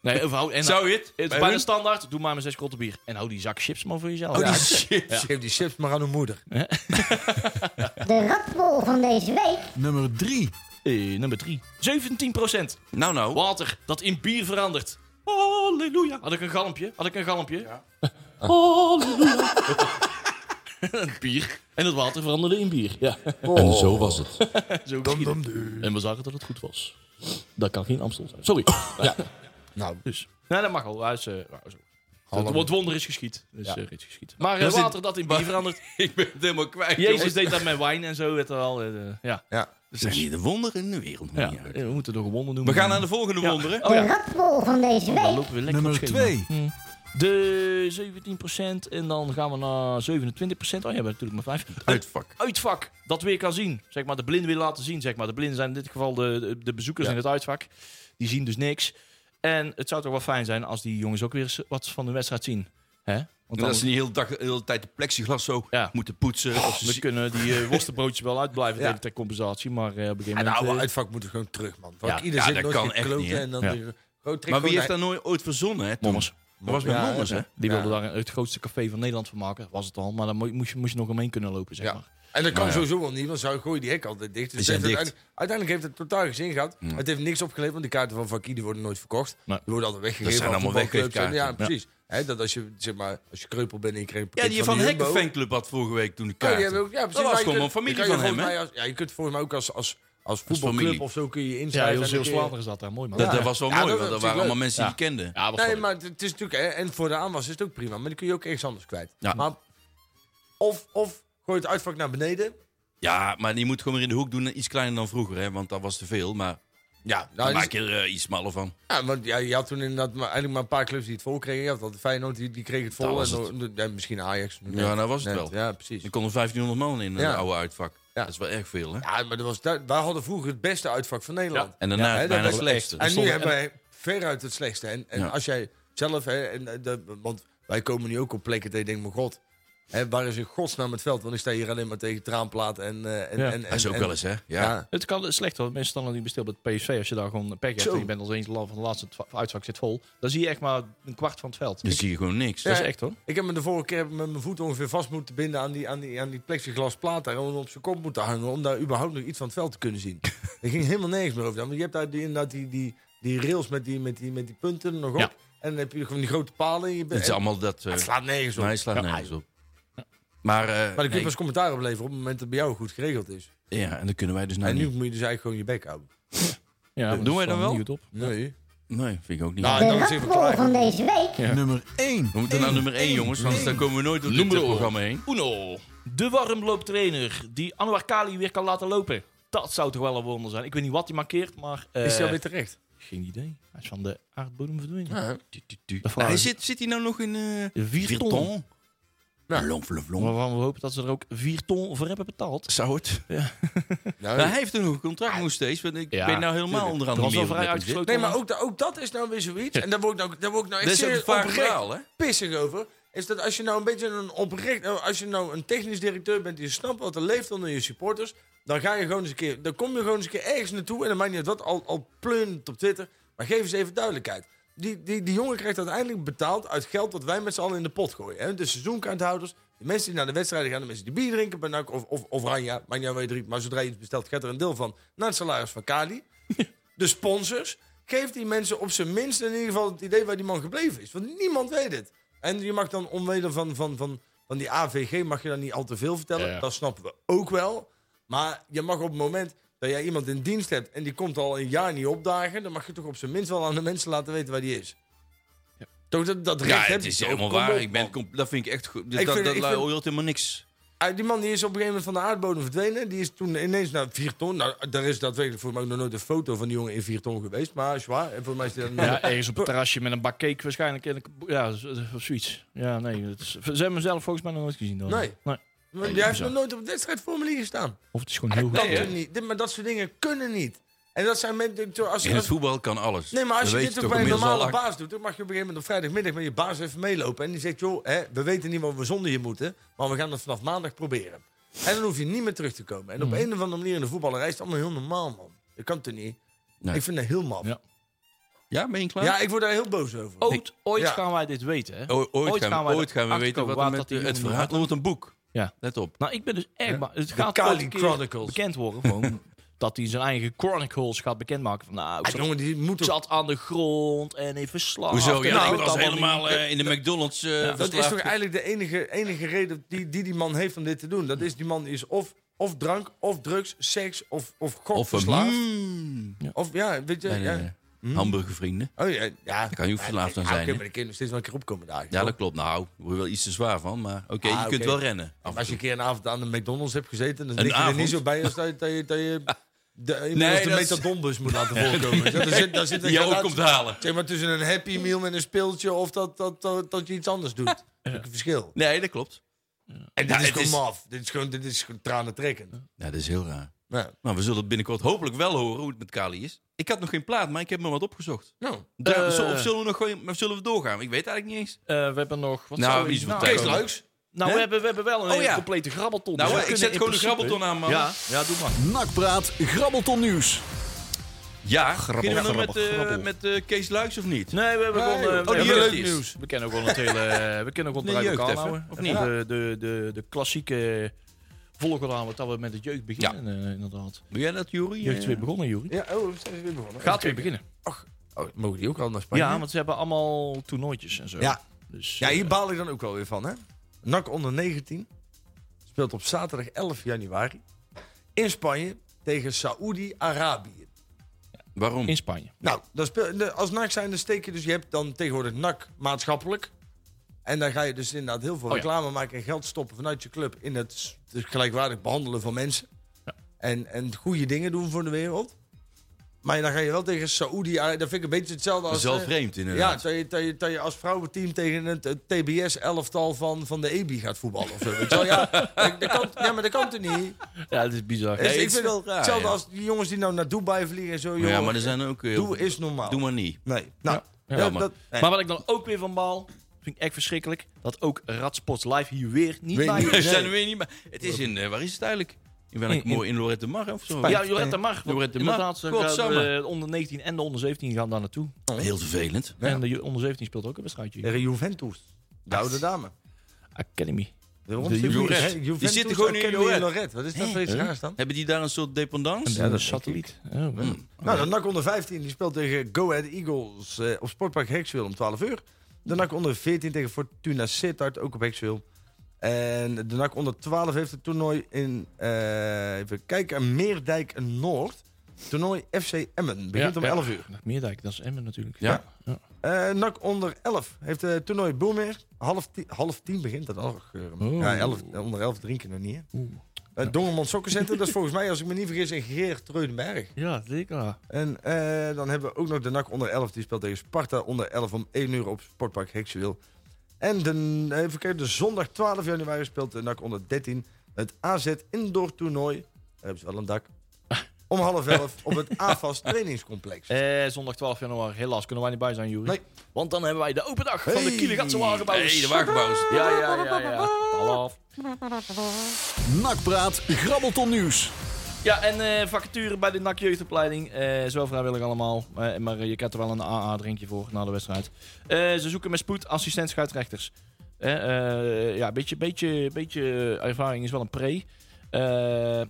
Nee, of hou, en, nou,
Zou je het?
Het is
Bij
bijna
hun?
standaard. Doe maar mijn zes grotten bier. En hou die zak chips maar voor jezelf.
Oh,
Ja.
die chips. Geef die chips maar aan hun moeder.
De ratbol van deze week.
Nummer 3.
Eh, nummer drie. 17%
Nou, nou.
water dat in bier verandert. Halleluja. Had ik een galmpje? Had ik een galmpje? Halleluja. bier. En het water veranderde in bier. Ja.
En zo was het.
Zo geschieden. En we zagen dat het goed was. Dat kan geen Amstel zijn. Sorry. ja.
Nou.
Dus. Nee, dat mag al. Hij is, eh, nou, zo. het, het wonder is geschied. Dus, eh, is geschied. Maar eh,
Dat is in-
water dat in bier verandert.
Ik ben het helemaal kwijt.
Jezus deed dat met wijn en zo. Weet je wel. eh, eh, ja.
Er zijn hier de wonderen in de wereld.
Ja. Eh,
man. Ja.
We moeten nog een wonder noemen.
We gaan naar de volgende
Ja.
wonderen.
Oh
De
ja.
ratbol van deze
Dan
week.
lopen we lekker
Nummer
op schema.
2.
De 17% en dan gaan we naar 27%. Oh ja, we hebben natuurlijk maar 5.
Uitvak.
uitvak dat weer kan zien. Zeg maar, de blinden willen laten zien. Zeg maar. De blinden zijn in dit geval de, de, de bezoekers in het uitvak. Die zien dus niks. En het zou toch wel fijn zijn als die jongens ook weer eens wat van de wedstrijd zien. Hè? Want
En dat
dan-
ze niet heel dag, de hele tijd de plexiglas zo
Ja.
moeten poetsen. of ze
we
zien-
kunnen die eh, worstenbroodjes wel uitblijven
Ja. nou,
delen ter compensatie. Maar eh, op een gegeven
En de
moment...
oude
eh,
uitvak moet er gewoon terug, man. Want
Ja,
ieder
ja,
zit
dat
nooit
kan
geen
echt
kloten
niet, hè?
en dan
Ja.
die groot trek
maar wie
gewoon
heeft
naar-
dat nooit ooit verzonnen? Hè? Toen-
Mommers.
Dat was met
Ja,
Mommers,
ja.
hè?
Die
Ja.
wilden daar het grootste café van Nederland van maken. Was het al. Maar dan mo- moest je, moest je nog omheen kunnen lopen, zeg
Ja.
maar.
En dat kan sowieso wel niet, want ze gooien die hek altijd dicht. Dus
Nou Die zijn
het heeft
dicht.
Uiteindelijk, uiteindelijk heeft het totaal geen zin gehad. Het heeft niks opgeleverd, want de kaarten van Vakkie die worden nooit verkocht.
Nee.
Die worden altijd weggegeven.
Dat zijn
aan
allemaal
voetbalclubs. En- Ja,
weggeefkaarten.
precies. Hè, dat als je, zeg maar, als je kreupel bent en je krijgt een
Ja,
pakket
die van
die Jumbo.
Hekken fanclub had vorige week toen de
Ja,
kaart.
die hebben ook, ja, precies.
dat
Maar
was
je
gewoon
kunt-
een
je
familie
kan
van
je
hem, hè?
volgens mij als- Ja, je kunt volgens mij ook als, als, als
is
voetbalclub
familie.
of zo kun je
Ja,
inschrijven.
heel
en dan kun je-
Zeeuws-Vlaanderen zat daar. Mooi, man.
Dat,
Ja.
dat was wel
eh, Ja,
mooi,
dat
want er
was
waren allemaal
natuurlijk
mensen
leuk.
die die kenden.
Ja, was wel
Nee,
leuk.
maar het is natuurlijk, hè, en voor de aanwas is het ook prima, maar die kun je ook ergens anders kwijt.
Ja.
Maar of, of gooi het uitvak naar beneden.
Ja, maar die moet gewoon weer in de hoek doen. Iets kleiner dan vroeger, hè? Want dat was te veel. Maar
Ja,
daar
nou,
maak
dus,
je er eh, iets smaller van.
ja, want ja, je had toen inderdaad maar, eigenlijk maar een paar clubs die het vol kregen. Je had altijd Feyenoord, die, die kreeg het vol.
Dat was
en,
het.
dan- dan- misschien Ajax.
Ja, dat was het wel.
Ja, precies.
Er konden 1500 man in een
Ja.
oude uitvak.
Ja.
Dat is wel erg veel, hè?
Ja, maar dat was, dat, wij hadden vroeger het beste uitvak van Nederland.
En daarna het
hè, dat
bijna
was
het slechtste.
En nu
Zonder-
hebben wij veruit het slechtste. En, en
Ja.
als jij zelf, hè, en, eh, de, want wij komen nu ook op plekken dat je denkt, mijn god, hè, waar is in godsnaam het veld? Want ik sta hier alleen maar tegen traanplaten en... eh en,
Ja.
en, en
Dat is ook
en-
wel eens, hè?
Ja.
Ja.
Het kan slecht hoor. Mensen staan al niet bestil bij het PSV. Als je daar gewoon een pek hebt
Zo.
en je bent als eens la- van de laatste twa- uitvak zit vol. Dan zie je echt maar een kwart van het veld.
Dan zie Dus je gewoon niks.
Dat is
Ja.
echt hoor.
Ik heb me de vorige keer met mijn voet ongeveer vast moeten binden aan die, aan die, aan die plexiglas plaat daar. En op zijn kop moeten hangen om daar überhaupt nog iets van het veld te kunnen zien. Er ging helemaal nergens meer over. Want je hebt daar die, inderdaad die, die, die rails met die, met die, met die punten nog op.
Ja.
En dan heb je gewoon die grote palen in je bek.
Het is allemaal dat... eh,
Het slaat nergens op.
nee, het slaat
Ja,
nergens op. Maar, eh,
Maar de
nee,
keepers commentaar opleveren op het moment dat het bij jou goed geregeld is.
ja, en dan kunnen wij dus nou
en nu
niet.
moet je dus eigenlijk gewoon je bek houden.
Ja,
Doen wij dat wel?
Niet goed op.
Nee.
Nee, vind ik ook niet.
Nou,
De
dan is het
rapbol van
klaar.
deze week.
Nummer 1.
we moeten naar nummer 1, jongens, want dan komen we nooit door dit
Nummer
eh, programma heen.
Uno. De warmlooptrainer die Anwar Kali weer kan laten lopen. Dat zou toch wel een wonder zijn. Ik weet niet wat hij markeert, maar... eh,
Is hij alweer terecht?
Geen idee. Hij is van de aardbodem verdwenen.
Ah.
Ja.
Dat
Nou,
vraag
hij
ik.
zit, zit hij nou nog in... eh
Vier ton.
Vierton? Nou, long, long, long.
Waarvan we hopen dat ze er ook 4 ton voor hebben betaald.
Zou het?
Nou,
Maar hij heeft nog een contract nog steeds. want Ik
Ja,
ben nou helemaal
tuurlijk.
onder
Dat
andere
was wel vrij uitgesloten.
Nee, maar ook, da- ook dat is nou weer zoiets. En daar word ik nou, daar word ik nou
Dat
echt
is ook
serieus
een vaag
oprecht
verhaal, hè?
pissig over. Is dat als je nou een beetje een oprecht... nou, Als je nou een technisch directeur bent die snapt wat er leeft onder je supporters... Dan ga je gewoon eens een keer... Dan kom je gewoon eens een keer ergens naartoe. En dan maakt niet uit wat, al, al pleunt het op Twitter. Maar geef eens even duidelijkheid. Die, die, die jongen krijgt uiteindelijk betaald uit geld dat wij met z'n allen in de pot gooien. Hè? De seizoenkaarthouders, de mensen die naar de wedstrijden gaan, de mensen die bier drinken, bij NAC of, of Oranje, maakt niet uit waar je drinkt, maar zodra je iets bestelt, gaat er een deel van naar het salaris van Kali de sponsors. Geef die mensen op zijn minst in ieder geval het idee waar die man gebleven is. Want niemand weet het. En je mag dan omwille van, van, van, van die AVG mag je dan niet al te veel vertellen.
Ja.
Dat snappen we ook wel. Maar je mag op het moment dat jij iemand in dienst hebt... en die komt al een jaar niet opdagen... dan mag je toch op zijn minst wel aan de mensen laten weten waar die is. Toch dat, dat recht
Ja,
heb
het
je
is
toch?
helemaal
Kom
waar.
op,
Ik ben,
man.
com- dat vind ik echt goed. Dus
Ik
Dat,
vind-
dat
ik
lui
vind-
hoort helemaal niks.
Ah, Die man die is op een gegeven moment van de aardbodem verdwenen. Die is toen ineens naar vier ton. Nou, daar is daadwerkelijk voor mij ook nog nooit een foto van die jongen in vier ton geweest. Maar zwaar. En voor mij is die dan
Ja, ergens op het terrasje met een bak cake waarschijnlijk. En een- ja, z- of zoiets. Ja, nee. Het is, ze hebben mezelf volgens mij nog nooit gezien. Dan.
Nee. Want jij heeft nog nooit op het wedstrijdformulier gestaan.
Of het is
Ah,
gewoon heel goed.
Dat kan niet. Dit- Maar dat soort dingen kunnen niet. En dat zijn mensen... to- Als,
In het
als,
voetbal kan alles.
nee, maar
Dat
als je
weet
dit ook bij een
inmiddels al
normale
lang.
baas doet... dan mag je op een gegeven moment op vrijdagmiddag met je baas even meelopen. En die zegt, joh, hè, we weten niet wat we zonder je moeten... maar we gaan het vanaf maandag proberen. En dan hoef je niet meer terug te komen.
Mm.
En op een of andere manier in de voetballerij is het allemaal heel normaal, man. Dat kan toch niet?
Nee.
Ik vind dat heel maf.
Ja.
Ja.
Ja, ben je klaar?
ik word daar heel boos over.
Oh.
Ooit, ooit
Ja.
gaan wij dit weten. Hè?
O- ooit,
ooit
gaan
gaan
we,
wij
ooit gaan we
erachter
weten
komen
wat er
waar
met
dat
de-
die
het
jongen
verhaal... Er wordt een boek.
Ja.
Let op.
Nou, ik ben dus erg bang. Het gaat
Kali
ooit een keer
Chronicles.
bekend worden gewoon. dat hij zijn eigen chronicles gaat bekendmaken. Van, nou, ik
Ah,
zat,
jongen, die moet
ik
toch
zat aan de grond en in verslag.
Hoezo?
en
Ja,
ik
ik
weet
was
nou, allemaal
helemaal eh, in de McDonald's eh,
Dat is
verslaafd.
toch eigenlijk de enige, enige reden die, die die man heeft om dit te doen. Dat is, die man is of, of drank, of drugs, seks, of, of gok
Of een
verslaafd.
mm,
Of ja, weet je...
bij de,
ja.
eh, hamburgervrienden.
Oh ja, ja.
Daar kan je ook verslaafd aan
Ja,
zijn.
oké,
hè?
maar de kinderen steeds wel een keer opkomen daar.
Ja, dat klopt. Nou, daar word je wel iets te zwaar van. Maar oké,
Oh. Ah,
je kunt
oké.
wel rennen. af en
Als je
toe.
een keer een avond aan de McDonald's hebt gezeten, dan
Een
lig je er
avond?
niet zo bij als dat je, dat je, dat je de,
Nee,
nee, de
dat is-
metadonbus moet laten voorkomen. Daar zit, daar zit een
Die jou ook
gradatie-
komt eh, halen.
Zeg maar tussen een happy meal en een speeltje of dat, dat, dat, dat je iets anders doet. Dat is ook een verschil.
Nee, dat klopt.
En dit
Ja,
is
het
gewoon
is-
maf. Dit is gewoon, dit is gewoon tranentrekkend.
Ja, dat is heel raar.
Ja.
Maar we zullen het binnenkort hopelijk wel horen hoe het met Kali is. Ik had nog geen plaat, maar ik heb me wat opgezocht.
Nou,
Daar-
Eh.
zo- of zullen we nog gewoon, maar zullen we doorgaan? Ik weet eigenlijk niet eens.
Eh, we hebben nog... Wat
Nou,
zouden we
iets
nou-
wat
Kees
Kees
Luiks.
Nou, we hebben, we hebben wel een
Oh, ja.
complete grabbelton. Dus
Nou,
we
ik
kunnen
zet
in
gewoon de
principe-
grabbelton aan, man.
Ja, ja, doe maar.
Nakpraat, grabbelton nieuws.
Ja, beginnen we dan met,
grappig,
eh,
grappel.
met eh, Kees Luiks of niet?
Nee, we hebben gewoon... eh, we
die
hebben
jeugd
leuk
is.
nieuws. We kennen ook wel het hele... eh, We kennen ook
Nee,
wel het
jeugd
elkaar
even,
houden.
of niet?
De, de, de, de klassieke volgorde aan wat dat we met de jeugd beginnen, eh, inderdaad.
Doe jij dat, Eh, Jury?
Jeugd is weer begonnen, Juri.
Ja, oh, zijn ze weer begonnen.
Gaat weer beginnen.
Oh, mogen die ook al naar Spanje?
Ja, want ze hebben allemaal toernooitjes en zo.
Ja.
Dus,
ja,
eh,
hier baal ik dan ook wel weer van, hè. NAC onder 19 speelt op zaterdag 11 januari in Spanje tegen Saoedi-Arabië.
Waarom?
in Spanje.
Nou, dan speel, de- als NAC zijn, dan steek je dus... Je hebt dan tegenwoordig NAC maatschappelijk. En dan ga je dus inderdaad heel veel
Oh ja.
reclame maken... en geld stoppen vanuit je club in het s- het gelijkwaardig behandelen van mensen. En, en goede dingen doen voor de wereld. Maar dan ga je wel tegen Saoedi-Arabië... Dat vind ik een beetje hetzelfde als...
Zelf
eh,
vreemd, inderdaad.
Ja, dat je, dat, je, dat je als vrouwenteam tegen het, het TBS-elftal van, van de EBI gaat voetballen. Of zo. Weet je wel, ja, dat, dat kan, ja, maar dat kan toch niet?
Ja, dat is bizar.
Dus
het
ik
is
vind
wel
het
raar,
hetzelfde
ja.
als die jongens die nou naar Dubai vliegen en zo.
ja,
jongen,
maar er zijn ook... eh,
Doe is normaal.
Doe maar niet.
Nee. Nou,
Ja.
dat-
Ja,
dat- nee.
Maar wat ik dan ook weer van baal, vind ik echt verschrikkelijk, dat ook Radsports Live hier weer niet
Weer
bij
niet.
is.
We zijn er weer niet bij. Het is in... eh, waar is het eigenlijk? In welk
In- in-
mooi... In Lorette de Mar of zo?
Ja, Jorette Mar.
Jorette
Jorette
Mar.
Inderdaad, ze
Godsamme.
gaan, eh, de onder 19 en de onder 17 gaan daar naartoe.
Heel vervelend.
En de onder 17 speelt ook een wedstrijdje.
Tegen Juventus. De oude dame.
Academy.
Waarom
De
zit die-
Juventus.
hè,
Die
Juventus
zitten gewoon in
Academy
Joret.
Lorette. Wat is dat voor iets
Huh?
raars dan?
Hebben die daar een soort dependance?
Ja, dat is satelliet. Oh, wow.
Nou, de NAC onder 15 die speelt tegen Go Ahead Eagles eh, op Sportpark Hexwil om 12 uur. De NAC onder 14 tegen Fortuna Sittard, ook op Hexwil. En de NAC onder 12 heeft het toernooi in, eh, even kijken, Meerdijk Noord. Toernooi FC Emmen, begint
Ja,
om
ja.
11 uur.
Meerdijk, dat is Emmen natuurlijk.
Ja.
Eh NAC onder 11 heeft het toernooi Boelmeer. Half, ti- half 10 begint dat al.
Oeh.
Ja, 11 onder 11 drinken nog niet, hè?
Oeh.
Eh, Dongermond Sokkercentrum, dat is volgens mij, als ik me niet vergis, in Geert
Ja, zeker.
En eh, dan hebben we ook nog de NAC onder 11. Die speelt tegen Sparta onder 11 om 1 uur op Sportpark Hexwil. En de, eh, even kijken, de zondag 12 januari speelt de NAC onder 13 het AZ Indoor Toernooi. Daar hebben ze wel een dak. Om half 11 op het AFAS trainingscomplex.
Eh, zondag 12 januari, helaas kunnen wij niet bij zijn, Jury.
Nee.
Want dan hebben wij de open dag van
Hey.
de Kielegatse wagenbouwers.
Nee, de wagenbouwers.
Ja, ja, ja. ja. Half.
Nakpraat Grabbelton Nieuws.
Ja, en eh vacature bij de NAC jeugdopleiding. Eh zo vrijwillig allemaal. Eh, maar eh, je kent er wel een AA-drinkje voor na de wedstrijd. Eh, ze zoeken met spoed assistent scheidsrechters. Eh, eh, ja, een beetje, beetje, beetje ervaring is wel een pre. Eh,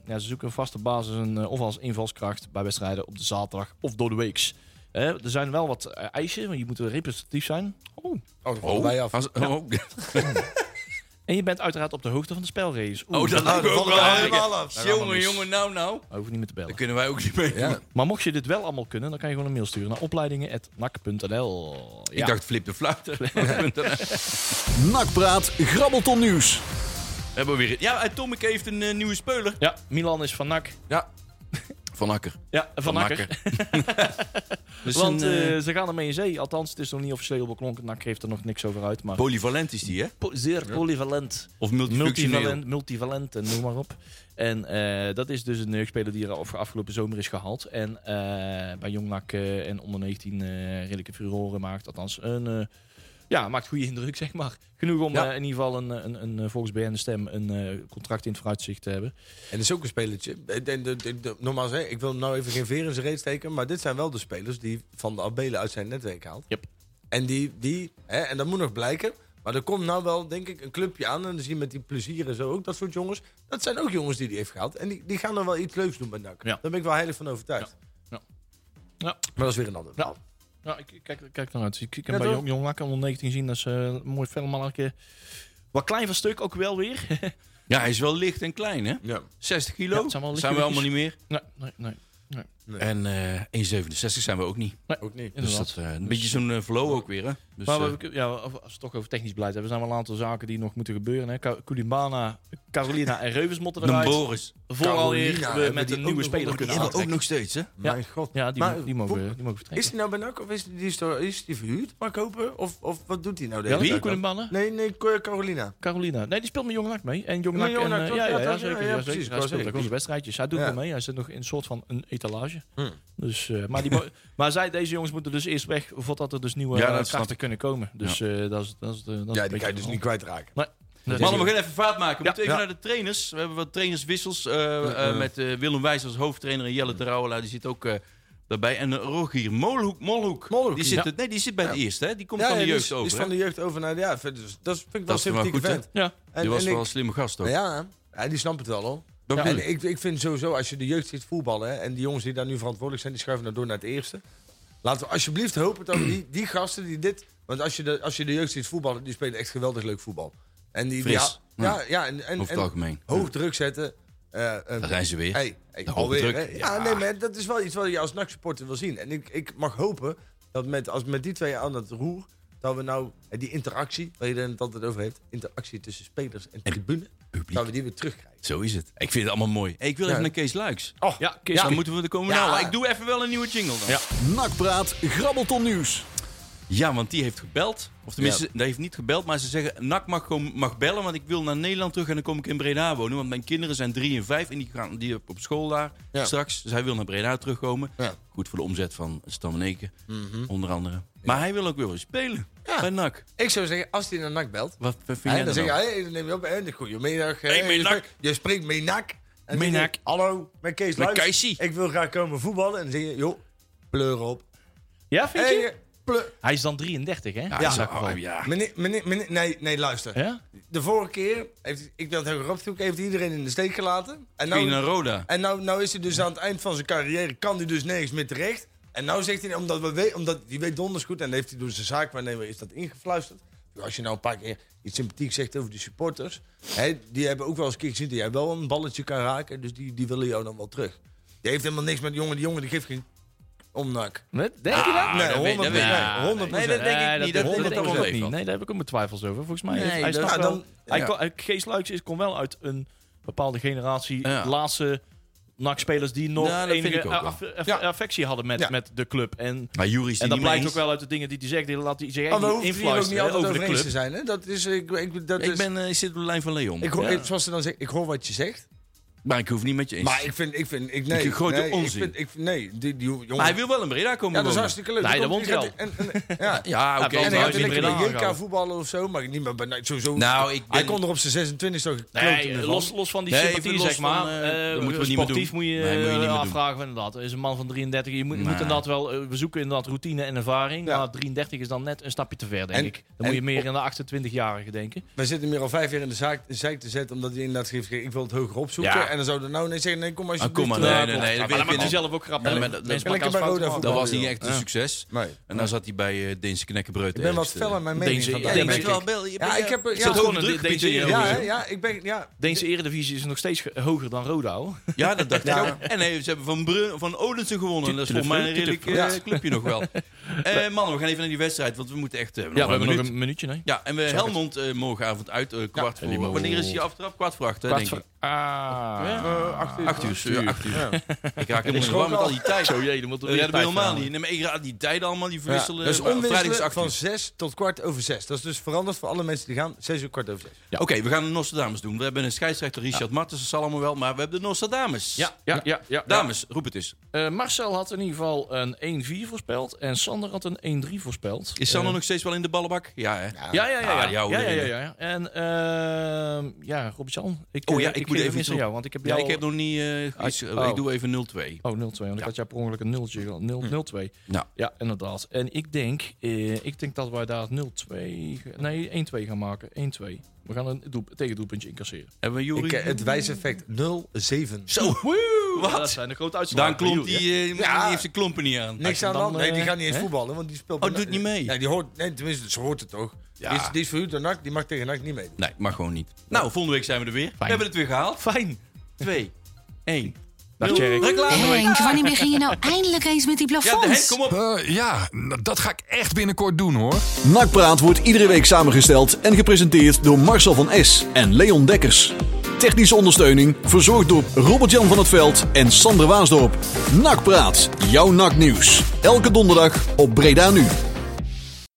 ja, ze zoeken een vaste basis een, eh, of als invalskracht bij wedstrijden op de zaterdag of door de weeks. Eh, er zijn wel wat eh, eisen, want je moet representatief zijn.
Oh,
Oh,
wij af.
als- oh,
En je bent uiteraard op de hoogte van de spelregels. Oeh,
oh, dat lijkt
Nou,
me
dat
ook
vallen
wel.
we helemaal af.
aardig. Jongen, jongen, nou, nou.
hoef je niet meer te bellen.
Daar kunnen wij ook niet mee.
Ja.
Maar mocht je dit wel allemaal kunnen, dan kan je gewoon een mail sturen naar opleidingen.nak.nl.
Ik dacht Flip de Fluiter. We
Nakpraat Grabbelton Nieuws.
hebben we weer... Ja, en Tommeke heeft een eh, nieuwe speler.
Ja, Milan is van NAC.
Van Akker.
Ja, van, Nakker. Want
Dus Want, een, eh,
eh, ze gaan ermee in zee. Althans, het is nog niet officieel beklonken. NAC geeft er nog niks over uit. Maar
polyvalent is die, hè?
po- zeer polyvalent.
Of multifunctioneel.
Multivalent, multivalent en noem maar op. En eh, dat is dus een jeugdspeler die er af- afgelopen zomer is gehaald. En eh, bij Jong NAC eh, en onder 19 eh redelijke furoren maakt. Althans, een, eh, ja, maakt goede indruk, zeg maar. Genoeg om
Ja.
eh, in ieder geval een, een, een, eh, volgens BN de stem een eh, contract in het vooruitzicht te hebben.
En dat is ook een spelertje. Eh, de- de- de- de- Nogmaals, hè, ik wil hem nou even geen veer in zijn reet steken. Maar dit zijn wel de spelers die Van de Abelen uit zijn netwerk haalt.
Yep.
En, die, die, hè, en dat moet nog blijken. Maar er komt nou wel, denk ik, een clubje aan. En dan zie je met die plezier en zo ook dat soort jongens. Dat zijn ook jongens die die heeft gehaald. En die, die gaan er wel iets leuks doen met NAC.
Ja.
Daar ben ik wel heilig van overtuigd.
Ja. Ja. Ja.
Maar dat is weer een ander verhaal.
Ja, ik ik kijk, ik kijk naar uit. Ik, ik
Ja,
heb bij
toch?
Jong, Jong Lakker onder 19 zien. Dat is eh, een mooi filmannetje. Wat klein van stuk ook wel weer.
Ja, hij is wel licht en klein, hè?
Ja.
60 kilo.
Ja, het zijn wel
zijn we
lichtjes.
allemaal niet meer.
nee, nee, nee.
En eh 1,67 zijn we ook niet.
Ook niet.
Dus
Inderdaad.
dat, eh, een beetje zo'n eh, flow ook weer, hè? Dus,
maar
eh,
we, ja, als we het toch over technisch beleid hebben, zijn wel een aantal zaken die nog moeten gebeuren. Hè. Ka- Koulibaly, Carolina en Reuvers moeten
dan
eruit.
Boris.
Vooral weer we
hebben
met
die
een
ook
nieuwe
nog
speler
Die
onder-
kunnen
hebben we ook
aantrekken.
nog steeds, hè?
Ja.
Dus, Mijn god.
Ja, die,
Maar
mo- die, mogen,
hoe-
die mogen
Is
vertrekken.
die nou bij NAC of is die, die, is toch- is die verhuurd, maar kopen? Of, of wat doet hij nou? de
Ja,
hele
wie?
tijd dan?
Koulibaly?
Nee, nee, Carolina.
Carolina. Nee, die speelt met Jong NAC mee. En Jong NAC
Met Jong
en,
NAC,
eh,
toch?
ja,
Ja,
ja, ja,
toch?
zeker.
Ja,
ja,
ja,
zeker.
precies.
Hij
Ik wou
speelt ook
zeggen.
goede wedstrijdjes. Hij doet
Ja.
wel mee. Hij zit nog in een soort van een etalage.
Hmm.
Dus, eh, maar, die, mo- maar zij, deze jongens moeten dus eerst weg voordat er dus nieuwe
Ja,
ja,
dat snap
krachten kunnen komen. Dus eh, dat is dat is de- dat is
Ja,
een
die kan je
beetje
dus
van-
niet kwijtraken.
Nee. Dat is-
Mannen, we gaan even vaart maken. We
Ja.
moeten even
Ja.
naar de trainers. We hebben wat trainerswissels eh, eh, met eh, Willem Wijs als hoofdtrainer en Jelle Terouwela. Die zit ook eh, daarbij. En eh, Rogier Molhoek. Molhoek.
Molhoek,
die, zit,
ja.
nee, die zit bij het eerste, hè? Die komt
Ja,
van
ja,
de
die
jeugd
is- die
over,
is
hè?
van de jeugd over naar... Ja, vind- dus, dat vind ik wel
Dat
een
is wel
sympathieke
goed, hè?
vent.
Ja.
En,
Die was
en
wel
ik-
een slimme gast ook.
Ja, ja, die snapt het wel, hoor.
Dat
Ja,
bedoel ik.
En ik, ik vind sowieso, als je de jeugd ziet voetballen... Hè, en die jongens die daar nu verantwoordelijk zijn... die schuiven dan door naar het eerste. Laten we alsjeblieft hopen dat we die, die gasten die dit... Want als je, de, als je de jeugd ziet voetballen... die spelen echt geweldig leuk voetbal. En die, die-
Fris.
ja, ja, ja, en, en,
Over het
en
algemeen.
hoog druk zetten. eh, eh,
Daar zijn ze weer.
Hey, hey,
De
alweer,
hoogdruk,
hè? Ja,
ja.
nee, maar dat is wel iets wat je als NAC-supporter wil zien. En ik, ik mag hopen dat met, als met die twee aan het roer... dat we nou eh, die interactie, waar je het altijd over heeft... interactie tussen spelers en tribune...
Publiek.
dat we die weer terugkrijgen.
Zo is het. Ik vind het allemaal mooi. Hey, ik wil
Ja.
even naar Kees Luiks.
Oh,
Ja, Kees,
Ja,
Luiks.
moeten we er komen
Ja.
halen. Ik doe even wel een nieuwe jingle dan.
Ja.
Ja,
Nakpraat Grabbelton Nieuws.
want die heeft gebeld. Of tenminste, die heeft niet gebeld. Maar ze zeggen, NAC mag, gewoon, mag bellen, want ik wil naar Nederland terug. En dan kom ik in Breda wonen. Want mijn kinderen zijn drie en vijf. En die gaan die op school daar
Ja.
straks. Dus hij wil naar Breda terugkomen.
Ja. Mhm.
Goed voor de omzet van Stam en Eken, onder andere. Maar hij wil ook weer spelen bij NAC.
Ik zou zeggen, als hij naar NAC belt...
Wat, wat vind
hè,
jij
dan
dan? nou?
zeg je, hey, neem je op, hè, goedemiddag. hè,
Hey, mijn
eh, je,
NAC.
spreekt- je spreekt mee NAC. En
Mijn
zeg je,
NAC.
Hallo, met Kees
Met
Luijks.
Keisie.
Ik wil graag komen voetballen. En dan zeg je, joh, pleur op.
Ja, vind je?
Hey, eh, Pleu-
Hij is dan 33, hè?
Ja.
In elk geval.
ja.
Meneer, meneer, meneer- nee, nee, luister.
Ja?
De vorige keer, heeft, ik wil het heel rap toegeven, heeft iedereen in de steek gelaten. En
Queen en
nou,
Roda.
en nou, nou is hij dus aan het eind van zijn carrière, kan hij dus nergens meer terecht. En nou zegt hij, omdat, we we- omdat die weet donders goed, en heeft hij dus door zijn zaakwaarnemer is dat ingefluisterd. Als je nou een paar keer iets sympathiek zegt over die supporters, hè, die hebben ook wel eens een keer gezien dat jij wel een balletje kan raken, dus die, die willen jou dan wel terug. Die heeft helemaal niks met die jongen, die jongen die geeft geen omnak.
Wat? Denk je dat?
nee,
Ah, dat weet-
100
dat weet- Nee,
nee,
dat denk ik niet.
Dat,
Dat-
dat denk
dat
ik
overleeft
ook niet.
dat.
Nee, daar heb ik ook mijn twijfels over. Volgens mij
Nee,
heeft- hij
dat-
snapt
Ja,
wel...
dan-
hij
ja.
kon- hij- Kees Luijks is kon wel uit een bepaalde generatie
Ja.
laatste NAC-spelers die nog
Ja, dat vind ik
enige
ook wel.
aff- aff-
Ja.
affectie hadden met,
Ja.
met de club. En,
Maar Jury
en
is die
dat
Oh, niet
blijkt
mee
ook wel uit de dingen die hij zegt. Die laat hij zich echt
Maar we
niet
hoeven hier ook niet
influisteren hè,
altijd
over
over
de
eens te
club.
zijn. Hè? Dat is, ik, ik, dat
eens. Ik
is,
ben, eh, ik zit op de lijn van Leon.
ik hoor,
Ja.
Zoals ze dan zeggen, ik hoor wat je zegt.
Maar ik hoef het niet met je eens.
Maar ik vind, ik vind, ik, nee.
Ik gooi de
nee,
onzin.
Ik vind, ik, vind- nee, die, die jongen.
Maar hij wil wel in Breda komen
ja, dat is
wonen.
hartstikke leuk.
Nee,
Dan
dat
komt-
wont
die gaat- en- en- Ja.
Ja, oké.
Ja, wel
En
Nou,
hij
hij
gaat
is
in
in
lekker
Breda.
Breda
bij JK
gegaan.
voetballen of zo, maar niet meer bij, nee, sowieso.
Nou, ik
Hij
ben-
kon er op zijn 26 toch gekloten
Nee, eh,
ervan.
los, los van die
Nee,
sympathie,
even los
zeg maar.
van, eh,
eh,
dat moeten we niet meer
sportief
doen.
moet je,
Nee, moet je
eh,
niet meer
afvragen van inderdaad. Is een man van 33. Je moet, je
Nee.
moet inderdaad wel... eh, we zoeken inderdaad routine en ervaring.
Ja.
Maar 33 is dan net een stapje te ver, denk
En-
ik. Dan
en-
moet je meer in de 28-jarige denken.
Wij zitten meer al vijf jaar in de zaak, de zeik te zetten, omdat hij inderdaad geeft, ik wil het hoger opzoeken.
Ja.
En dan zou er nou nee zeggen, nee, kom maar
Ah,
alsjeblieft. eh,
kom maar,
terug.
nee, nee, nee.
Ja,
dat
maar
vind
dat maakt
ik
hij
niet-
zelf ook grappig.
Nee, maar dat-
Mensen
dat-
maken
Lekker bij
als
Roda
fouten
voetbal.
Dat was niet
joh.
echt een
Ja.
succes.
Nee.
En dan zat hij bij eh Deense Knekkenbreut. eh,
Ik ben wat fel aan mijn mening
Deense-
vandaag.
Ja,
je
Deense-
bent wel bel. je bent-
Ja, ik heb...
Is dat
Ja,
gewoon een
Deze-
drukgebied in je
deze-
ja, hè,
hoofd?
ja, ik ben... Ja,
Deense eredivisie is nog steeds ge- hoger dan Roda. hoor.
Ja, dat dacht
Ja.
ik ook. En nee, ze hebben van, Brun, van Odense gewonnen. Dat is volgens mij een redelijk eh,
Ja.
clubje nog wel. Eh man, we gaan even naar die wedstrijd, want we moeten echt... eh,
Ja,
nog
we
een
hebben nog
minuut.
een minuutje. Nee?
Ja, en we Helmond eh, morgenavond uit, eh, kwart
die
voor...
mogen-
Wanneer is die aftrap? Kwart voor acht, hè,
Kwart
denk ik.
voor- Ah.
eh,
Acht uur. Ja, acht uur. Ik raak helemaal
Ik
in de war
schrok
met
al.
al die tijd.
Zo, jee, dan moeten we
Dat
weer
redden
tijd
we helemaal
verhalen.
niet. Nee, maar ik raad die tijden allemaal, die
Ja,
verwisselen.
dat is
eh, vrijdag is
onwisselen
acht
van
uur.
6 tot kwart over 6. Dat is dus veranderd voor alle mensen die gaan. 6 uur kwart over 6.
Oké, we gaan de Nostradamus doen. We hebben een scheidsrechter, Richard Martens, dat zal allemaal wel. Maar we hebben de Nostradamus.
Ja, ja, ja, ja.
Dames, roep het eens.
Eh, Marcel had in ieder geval een 1-4 voorspeld. En Sander had een 1-3 voorspeld.
Is Sanne
Eh,
nog steeds wel in de ballenbak? Ja, hè?
Ja, ja, ja.
Ah,
Ja,
die oude
ja, ja, ja,
dingen.
ja. En ehm ja, Robert-Jan. Ik,
Oh
eh,
ja, ik moet
geef
even
het
iets
aan
op-
jou, want ik heb
Ja,
jou...
ik heb nog niet. eh, iets,
Oh.
Ik doe even 0-2.
Oh, 0-2, want ik had jou per ongeluk een nultje gehad. 0 0-2.
Nou.
Ja, inderdaad. En ik denk, eh, ik denk dat wij daar 0-2... ge- Nee, 1-2 gaan maken. 1-2. We gaan een doel, tegendoelpuntje incasseren.
Hebben we Jury?
Ik, eh, het wijseffect 0,7.
Zo,
Dat
wat?
zijn de grote uitslagen.
Daan Klomp, die, eh,
Ja.
die heeft zijn klompen niet aan.
Niks aan de
dan,
hand. Nee, die
eh,
gaat niet eens
hè?
voetballen, want die speelt...
Oh,
bij-
doet niet mee.
Nee, die hoort... Nee, tenminste, ze hoort het toch. Die, is, die is verhuurd door NAC, die mag tegen NAC niet mee.
Nee, mag gewoon niet. Nou, volgende week zijn we er weer. We hebben het weer gehaald.
Fijn.
2, 1.
Dag, Tjerk.
Reclame.
Henk, wanneer begin je nou eindelijk eens met die
Ja, de Henk,
plafonds?
kom op.
Eh, ja, nou, dat ga ik echt binnenkort doen hoor.
Nakpraat wordt iedere week samengesteld en gepresenteerd door Marcel van S en Leon Dekkers. Technische ondersteuning verzorgd door Robert-Jan van het Veld en Sander Waasdorp. Nakpraat, jouw naknieuws. Elke donderdag op Breda Nu.